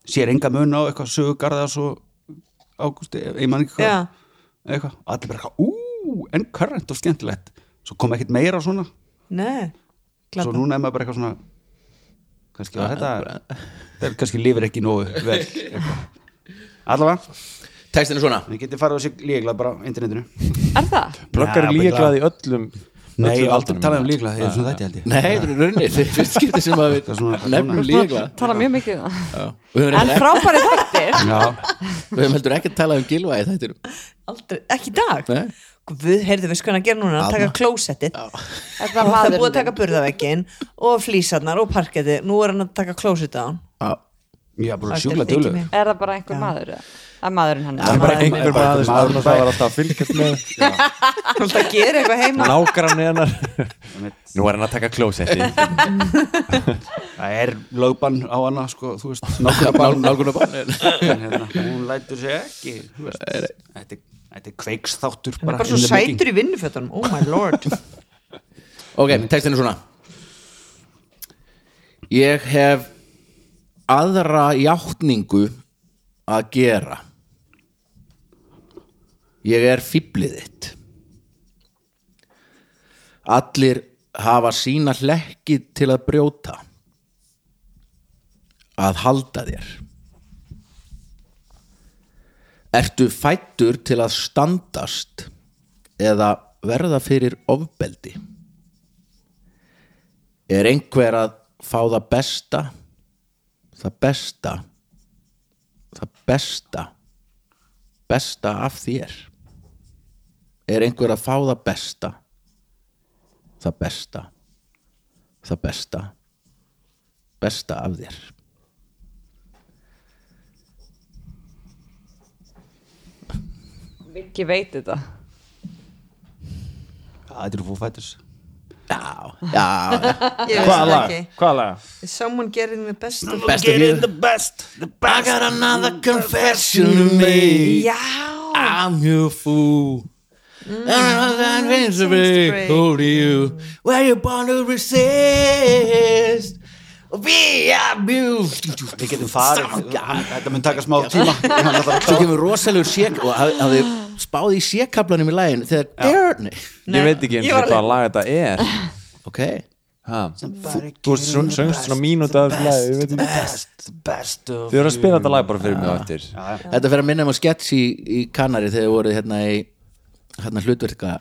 S6: Sér enga mun á eitthvað sögugarða Svo ágústi, ég man ekki hvað
S5: Já.
S6: Eitthvað, Og allir bara eitthvað, ú, en current og skemmtilegt Svo kom ekkert meira svona
S5: Nei,
S6: Svo
S5: glata
S6: núna er maður bara eitthvað svona kannski var þetta þeir kannski lifir ekki nógu vel eitthvað. allavega,
S2: textin er svona
S6: við getum farið á sig líklað bara á internetinu
S4: er það?
S3: Plöggar
S6: Já,
S3: líklað í öllum
S6: Nei,
S3: öllum
S6: aldrei
S3: aldrinum.
S6: talað um líklað, ég er svona þetta held ég
S2: nei, það er raunnið, þetta er fyrst skipti sem að
S6: er svona-
S2: við nefnum líka
S4: tala mjög mikið um það
S2: við höfum
S4: en
S2: reyndar ekki-
S4: frábæri þættir
S6: Já,
S2: við höfum heldur ekki að tala um gilva í þættinum
S5: Aldrei, ekki í dag
S2: Nei.
S5: Við heyrðum við sko hann að gera núna að taka klósettið
S4: Þetta
S5: Það
S4: var
S5: er búið að
S4: maðurinn
S5: taka burðavekkin og flísarnar og parkettið Nú er hann að taka klósett á hann
S2: Já.
S6: ég er
S5: Þetta
S6: bara
S5: er
S6: sjúkla
S5: ekki
S6: dölu
S5: mér.
S4: er það bara einhver maður eða? það er maðurinn hann
S3: Það er bara
S5: Maður-
S3: einhver
S6: bara
S3: maður sem
S6: maður-
S3: maður það var alltaf að fylgjast með
S5: Þú ert að gera eitthvað heima
S3: nágrann hennar Nú er hann að taka klósetti
S6: Það er lögbann á hana, sko, þú veist nálgunabann
S2: nálgunabann
S6: En hérna, hún lætur sig ekki þú veist. Þetta er- þetta er kveiksþáttur
S5: Hann er bara svo
S6: in the making.
S5: sætur í vinnufjötunum Oh my lord
S2: Ok, textin er svona Ég hef aðra játningu að gera Ég er fýblið þitt Allir hafa sína hlekki til að brjóta að halda þér Ertu fættur til að standast eða verða fyrir ofbeldi? er einhver að fá það besta það besta það besta besta af þér er einhver að fá það besta það besta það besta besta af þér
S4: Viki veit þetta
S6: Já, Þetta eru fófættis
S2: já, já, já.
S5: Ég veist það ekki
S3: Hvaða laga?
S5: Someone getting the best of
S2: besta fyrir
S6: best, Mm,
S2: I
S6: the
S2: got another confession to make
S5: Já
S2: I'm your fool. And I'm invincible.
S5: break.
S2: Who do you? Where you born to resist? Be abused.
S6: Við getum farið, þetta mun taka smá tíma
S2: Svo kemur rosalegur sék og hafði- hafði spáð í sékablanum í lægin þegar Dörni.
S3: Ég veit ekki eins
S5: ég
S3: og
S5: var
S3: hvaða laga þetta er
S2: Ok.
S3: Ha? Þú- Þú veist, svo- söngst svona mínúta af þessu lagi, ég veit ekki.
S6: best, best of
S3: Þið voru að spila þetta lag bara fyrir mig á eftir
S2: Þetta fyrir að minna um að sketch í, í Kanari þegar þið voru hérna í hérna hlutverka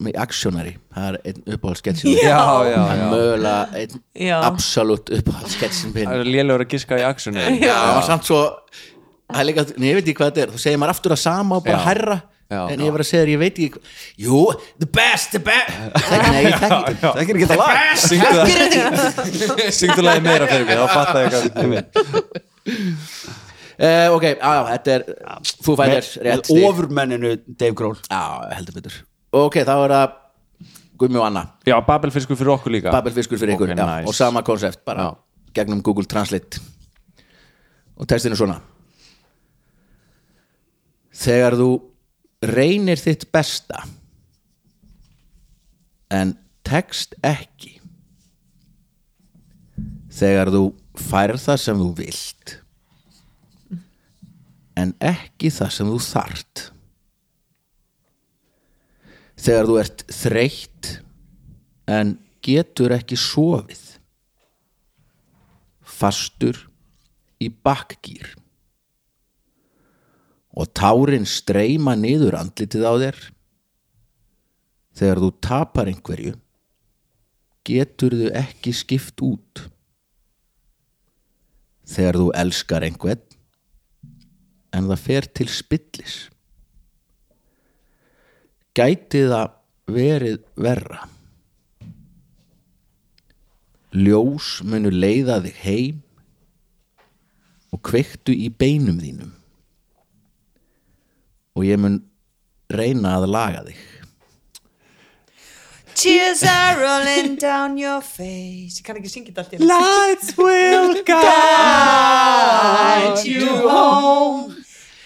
S2: með Actionary, það er einn uppáhald sketch
S3: Já, já,
S2: Það
S3: já
S2: er mögulega einn
S5: Já.
S2: absolutt uppáhald sketchin minn
S3: Það er lélegur að giska í aksjunni
S2: það var samt svo það er líka, en ég veit ekki hvað þetta er, þú segir maður aftur að sama og bara
S3: Já.
S2: hærra
S3: Já.
S2: en ég var að segja þér, ég veit ekki hva- jú, the best, the best Þekki- nei, ég þekki þetta
S6: Það er ekki þetta lag
S3: Syngdu það Syngdu lagi meira fyrir mig, þá fatta ég hvað
S2: uh, ok, á, þetta er Foo Fighters, rétt
S6: Með
S2: stig
S6: ofurmenninu Dave Grohl
S2: já, heldur betur ok, þá er það Gummi og Anna,
S3: Já, Babelfiskur fyrir okkur líka
S2: Babelfiskur fyrir ykkur
S3: Ok,
S2: já,
S3: nice.
S2: og sama konsept, bara
S3: Já.
S2: gegnum Google Translate og textinu svona þegar þú reynir þitt besta en tekst ekki þegar þú færð það sem þú vilt en ekki það sem þú þart þegar þú ert þreytt en getur ekki sofið fastur í bakkgýr og tárin streyma niður andlitið á þér þegar þú tapar einhverju getur þau ekki skipt út þegar þú elskar einhvern en það fer til spillis gæti það verið verra ljós munu leiða þig heim og kveiktu í beinum þínum og ég mun reyna að laga þig
S5: Tears are rolling down your face Ég kann ekki syngja þetta allt í einu.
S6: Lights will guide
S5: you home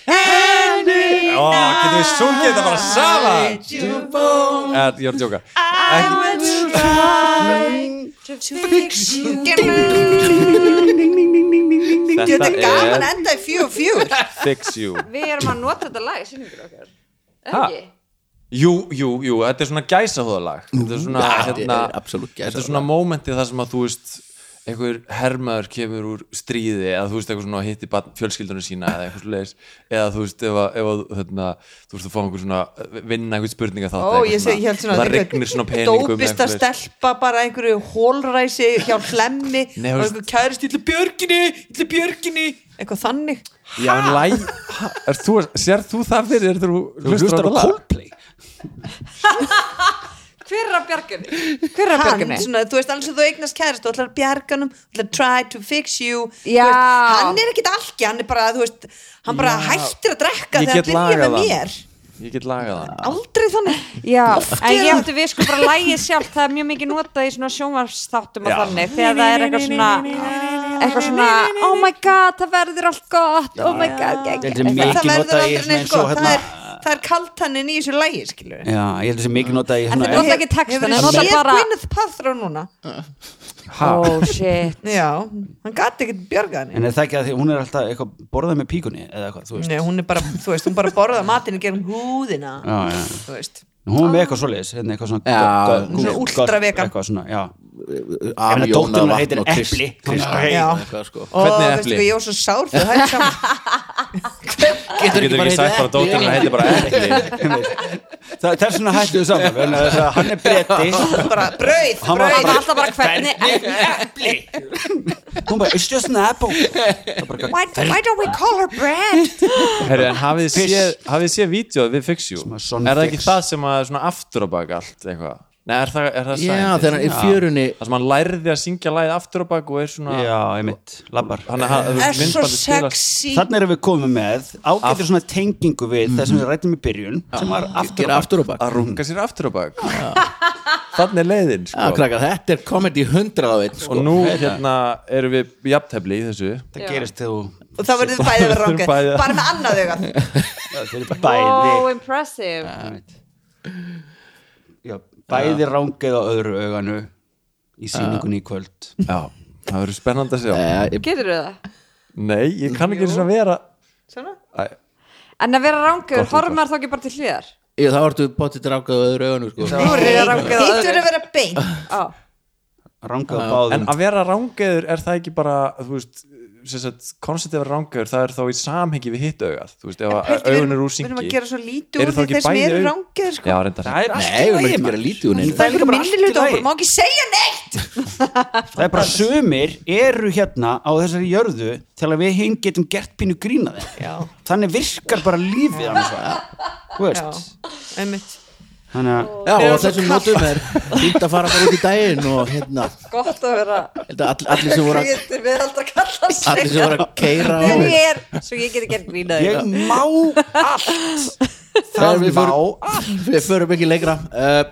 S5: Every
S3: Ó, getum við sungið þetta bara saman
S5: night you home
S3: Eh, Ég er að djóka
S5: I will try to fix you Þetta er gaman að enda í fjúr fjúr
S3: Fix You
S4: Við erum að nota þetta lag í synningur okkar Er
S3: Ha?
S4: ekki?
S3: Jú, jú, jú, þetta er svona gæsahóðalag Þetta er svona,
S2: þetta
S3: hérna,
S2: er absolutt
S3: þetta er
S2: gæsahúðalag.
S3: svona mómentið þar sem að þú veist einhver hermaður kemur úr stríði eða þú veist eitthvað svona hitti barn- fjölskyldunum sína eða eitthvað svoleiðis eða þú veist ef, að- ef að, hérna, þú veist að fá einhver svona vinna einhver spurninga þátt
S5: Ó, ég segi, ég held svona
S3: það regnir svona um peningum eða
S5: Dópist að
S3: svoleiðis.
S5: stelpa bara einhverju hólræsi hjá hlemmi
S3: Nei,
S5: og
S3: þú
S5: einhverju kærist yllu björginni yllu björginni, eitthvað þannig
S3: Já, en læ Ha? Ert þú, Sér þú það fyrir þegar þú hlustar á þetta lag?
S6: Coldplay
S4: Hver er að bjarginni? Hver er að
S5: hann,
S4: bjarginni?
S5: svona, þú veist, alls að þú eignast kærist þú ætlar að bjarga hann, þú ætlar að try to fix you Þú
S4: Já.
S5: veist, hann er ekkit algi, hann er bara, þú veist hann bara
S3: Já.
S5: hættir að drekka
S3: Ég
S5: þegar
S3: get
S5: hann byrja
S3: lagað
S5: með
S3: hann.
S5: mér
S3: Ég get lagað hann
S5: aldrei þannig
S4: Já, en
S5: er
S4: ég
S5: það-
S4: átti við sko bara lægið sjálf það er mjög mikið notað í svona sjónvarsþáttum og
S3: Já.
S4: þannig, þegar það er eitthvað svona eitthvað svona, oh my god það verður allt gott, oh my god gegg,
S6: Þetta er mikið
S5: það verður
S6: notað í
S5: aldrei
S6: svona
S5: neitt
S6: eins og
S5: gott það
S6: hérna-
S5: er, það er kaltannin í þessu lægi skilur
S6: Já, ég held þessi mikið nota í hérna-
S4: En þetta
S6: svona
S4: er
S6: en-
S4: nota ekki textann, en
S5: hefur
S4: nota
S5: séð
S4: bara-
S5: Gwyneth Paltrow núna
S4: oh shit
S5: já, hann gæti ekkit bjarga hann
S6: En er það ekki að því hún er alltaf eitthvað borðað með píkunni eða eitthvað, þú veist
S5: Nei, hún er bara, þú veist, hún bara borða matinn í gerum húðina
S6: Já, já.
S5: þú veist,
S6: Hún er með eitthvað svoleiðis, hérna eitthvað svona
S2: Já,
S6: gö- gö-
S5: svona
S6: gö-
S5: ultravegan.
S6: Eitthvað svona, já Hérna,
S2: af
S6: meina, dóttir
S2: Jóna
S6: hennar heitir
S2: vatn og krist
S6: Epli.
S5: Já.
S2: Krist sko.
S5: og
S3: Hvernig er
S5: veistu
S3: epli?
S5: hvað, ég var svo sár þau hægt saman
S3: Getur ekki sagt bara dóttirinn að heiti bara Epli
S6: Það það er svona hættu við saman vegna þess að Hann er bretti
S5: bara brauð,
S6: Hann var
S4: Það
S5: brauð
S4: er alltaf bara hvernig
S6: Hún bara, it's just an apple Það bara,
S5: why, why don't we call her bread
S3: Herru, en hafið þið séð, hafið þið séð vídeoð við Fix You?
S6: Sem
S3: Er
S6: að son
S3: það ekki
S6: fix.
S3: það sem að svona aftur á bak allt eitthvað? Nei, er það, er það
S2: já
S3: scientist?
S2: þegar hann í fjörunni
S3: Það sem hann lærði að syngja lagið aftur á bak og er svona
S6: já, einmitt, labbar
S3: Þannig að þú
S5: er
S3: veist,
S5: svo
S3: myndbandið spilast
S5: sexy
S6: Þannig erum við komið með ágættur svona tengingu við það sem við rættum í byrjun sem var aftur
S2: gera aftur á bak
S3: að runga sér aftur á bak Þannig er leiðin
S2: Já,
S3: sko.
S2: krakkar, þetta er komedi 100 á einn
S3: Og
S2: sko.
S3: nú hérna erum við jafntefli í þessu
S6: Það gerist þegar
S5: og þá verður þið bæðið að vera
S3: Þau bæði
S5: ránga
S3: að-
S5: bara með annað augað
S6: þú þeir eru
S4: Wow,
S6: bæði
S4: impressive
S6: Einmitt. já, bæði rángið á öðru auganu í síningunni í kvöld
S3: Já, það verður spennandi að sjá
S2: Eh,
S4: Getur það?
S3: Nei, ég kann ekki eins og vera
S5: Svona?
S3: Æ,
S4: En að vera rángur, horfum maður þá ekki bara til hliðar
S2: Ég, það vartu potið rákað á öðru augunum sko.
S4: Nú er það rángur
S5: hitt verður að vera beint
S4: Á.
S6: rángið á báðum
S3: En að vera rángeður er það ekki bara þú veist, sem sagt, konceptið að vera rángeður það er þá í samhengi við hitt augað þú veist, ef að
S5: Heldur,
S3: augun
S5: við
S3: eru úr
S5: við erum
S3: syngi
S5: að gera svo lítið
S3: Eru þá
S5: úr því
S3: ekki
S5: þeir sem
S3: bæði
S5: eru
S3: augun-
S5: rangir sko.
S3: Já, reyndar
S6: það er
S2: Nei, við erum ekki að gera lítið úr neinu.
S5: það er
S6: líka
S5: líka
S6: bara allt í
S5: minnilega
S6: lagi.
S5: hópur, má ekki segja neitt
S6: það er bara sumir eru hérna á þessari jörðu til að við hinn getum gert pínu grína þeim þannig virkar bara lífið annars vegar. þú veist
S5: einmitt
S6: þannig að
S2: Já, og þessum nótum er fínt að fara bara út í daginn og hérna,
S4: Gott að vera
S2: held að all, allir sem voru að
S4: Getur við alltaf kalla
S2: allir sem voru að keira á
S4: Þegar ég er, svo ég geti gert grínaði
S6: ég má allt
S2: Þegar
S6: það
S2: við
S6: má
S2: förum- Við förum ekki lengra uh,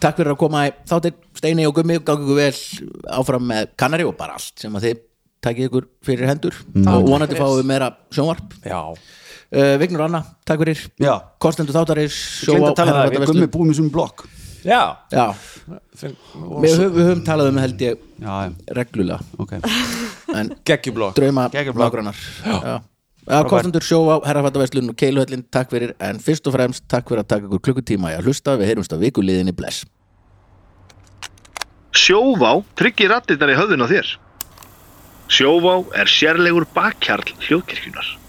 S2: Takk fyrir að koma í þáttir Steini og Gummi, gangi ykkur vel áfram með Kanari og bara allt sem að þið takið ykkur fyrir hendur
S6: Mm.
S2: og vonandi fáum við meira sjónvarp
S3: Já,
S2: uh, Vignur Anna, takk fyrir
S6: já,
S2: Kostendur þáttaris
S6: glemt að tala um það við gummi búum í svona blokk
S3: já
S2: Já,
S3: Finn-
S2: við höfum, við höfum talað um held ég
S6: já, já,
S2: reglulega
S6: ok
S2: en
S3: Geggjublokk
S2: drauma
S6: Geggjað blogg.
S2: nágrannar Já. Já, kostendur sjó á herrafattaverslun og keiluhöllin, takk fyrir en fyrst og fremst takk fyrir að taka ykkur klukkutíma í að hlusta, við heyrumst að vikuliðinni bless
S1: Sjóvá tryggir rattirnar í höfðun á þér. Sjóvá er sérlegur bakkjarl hljóðkirkjunar.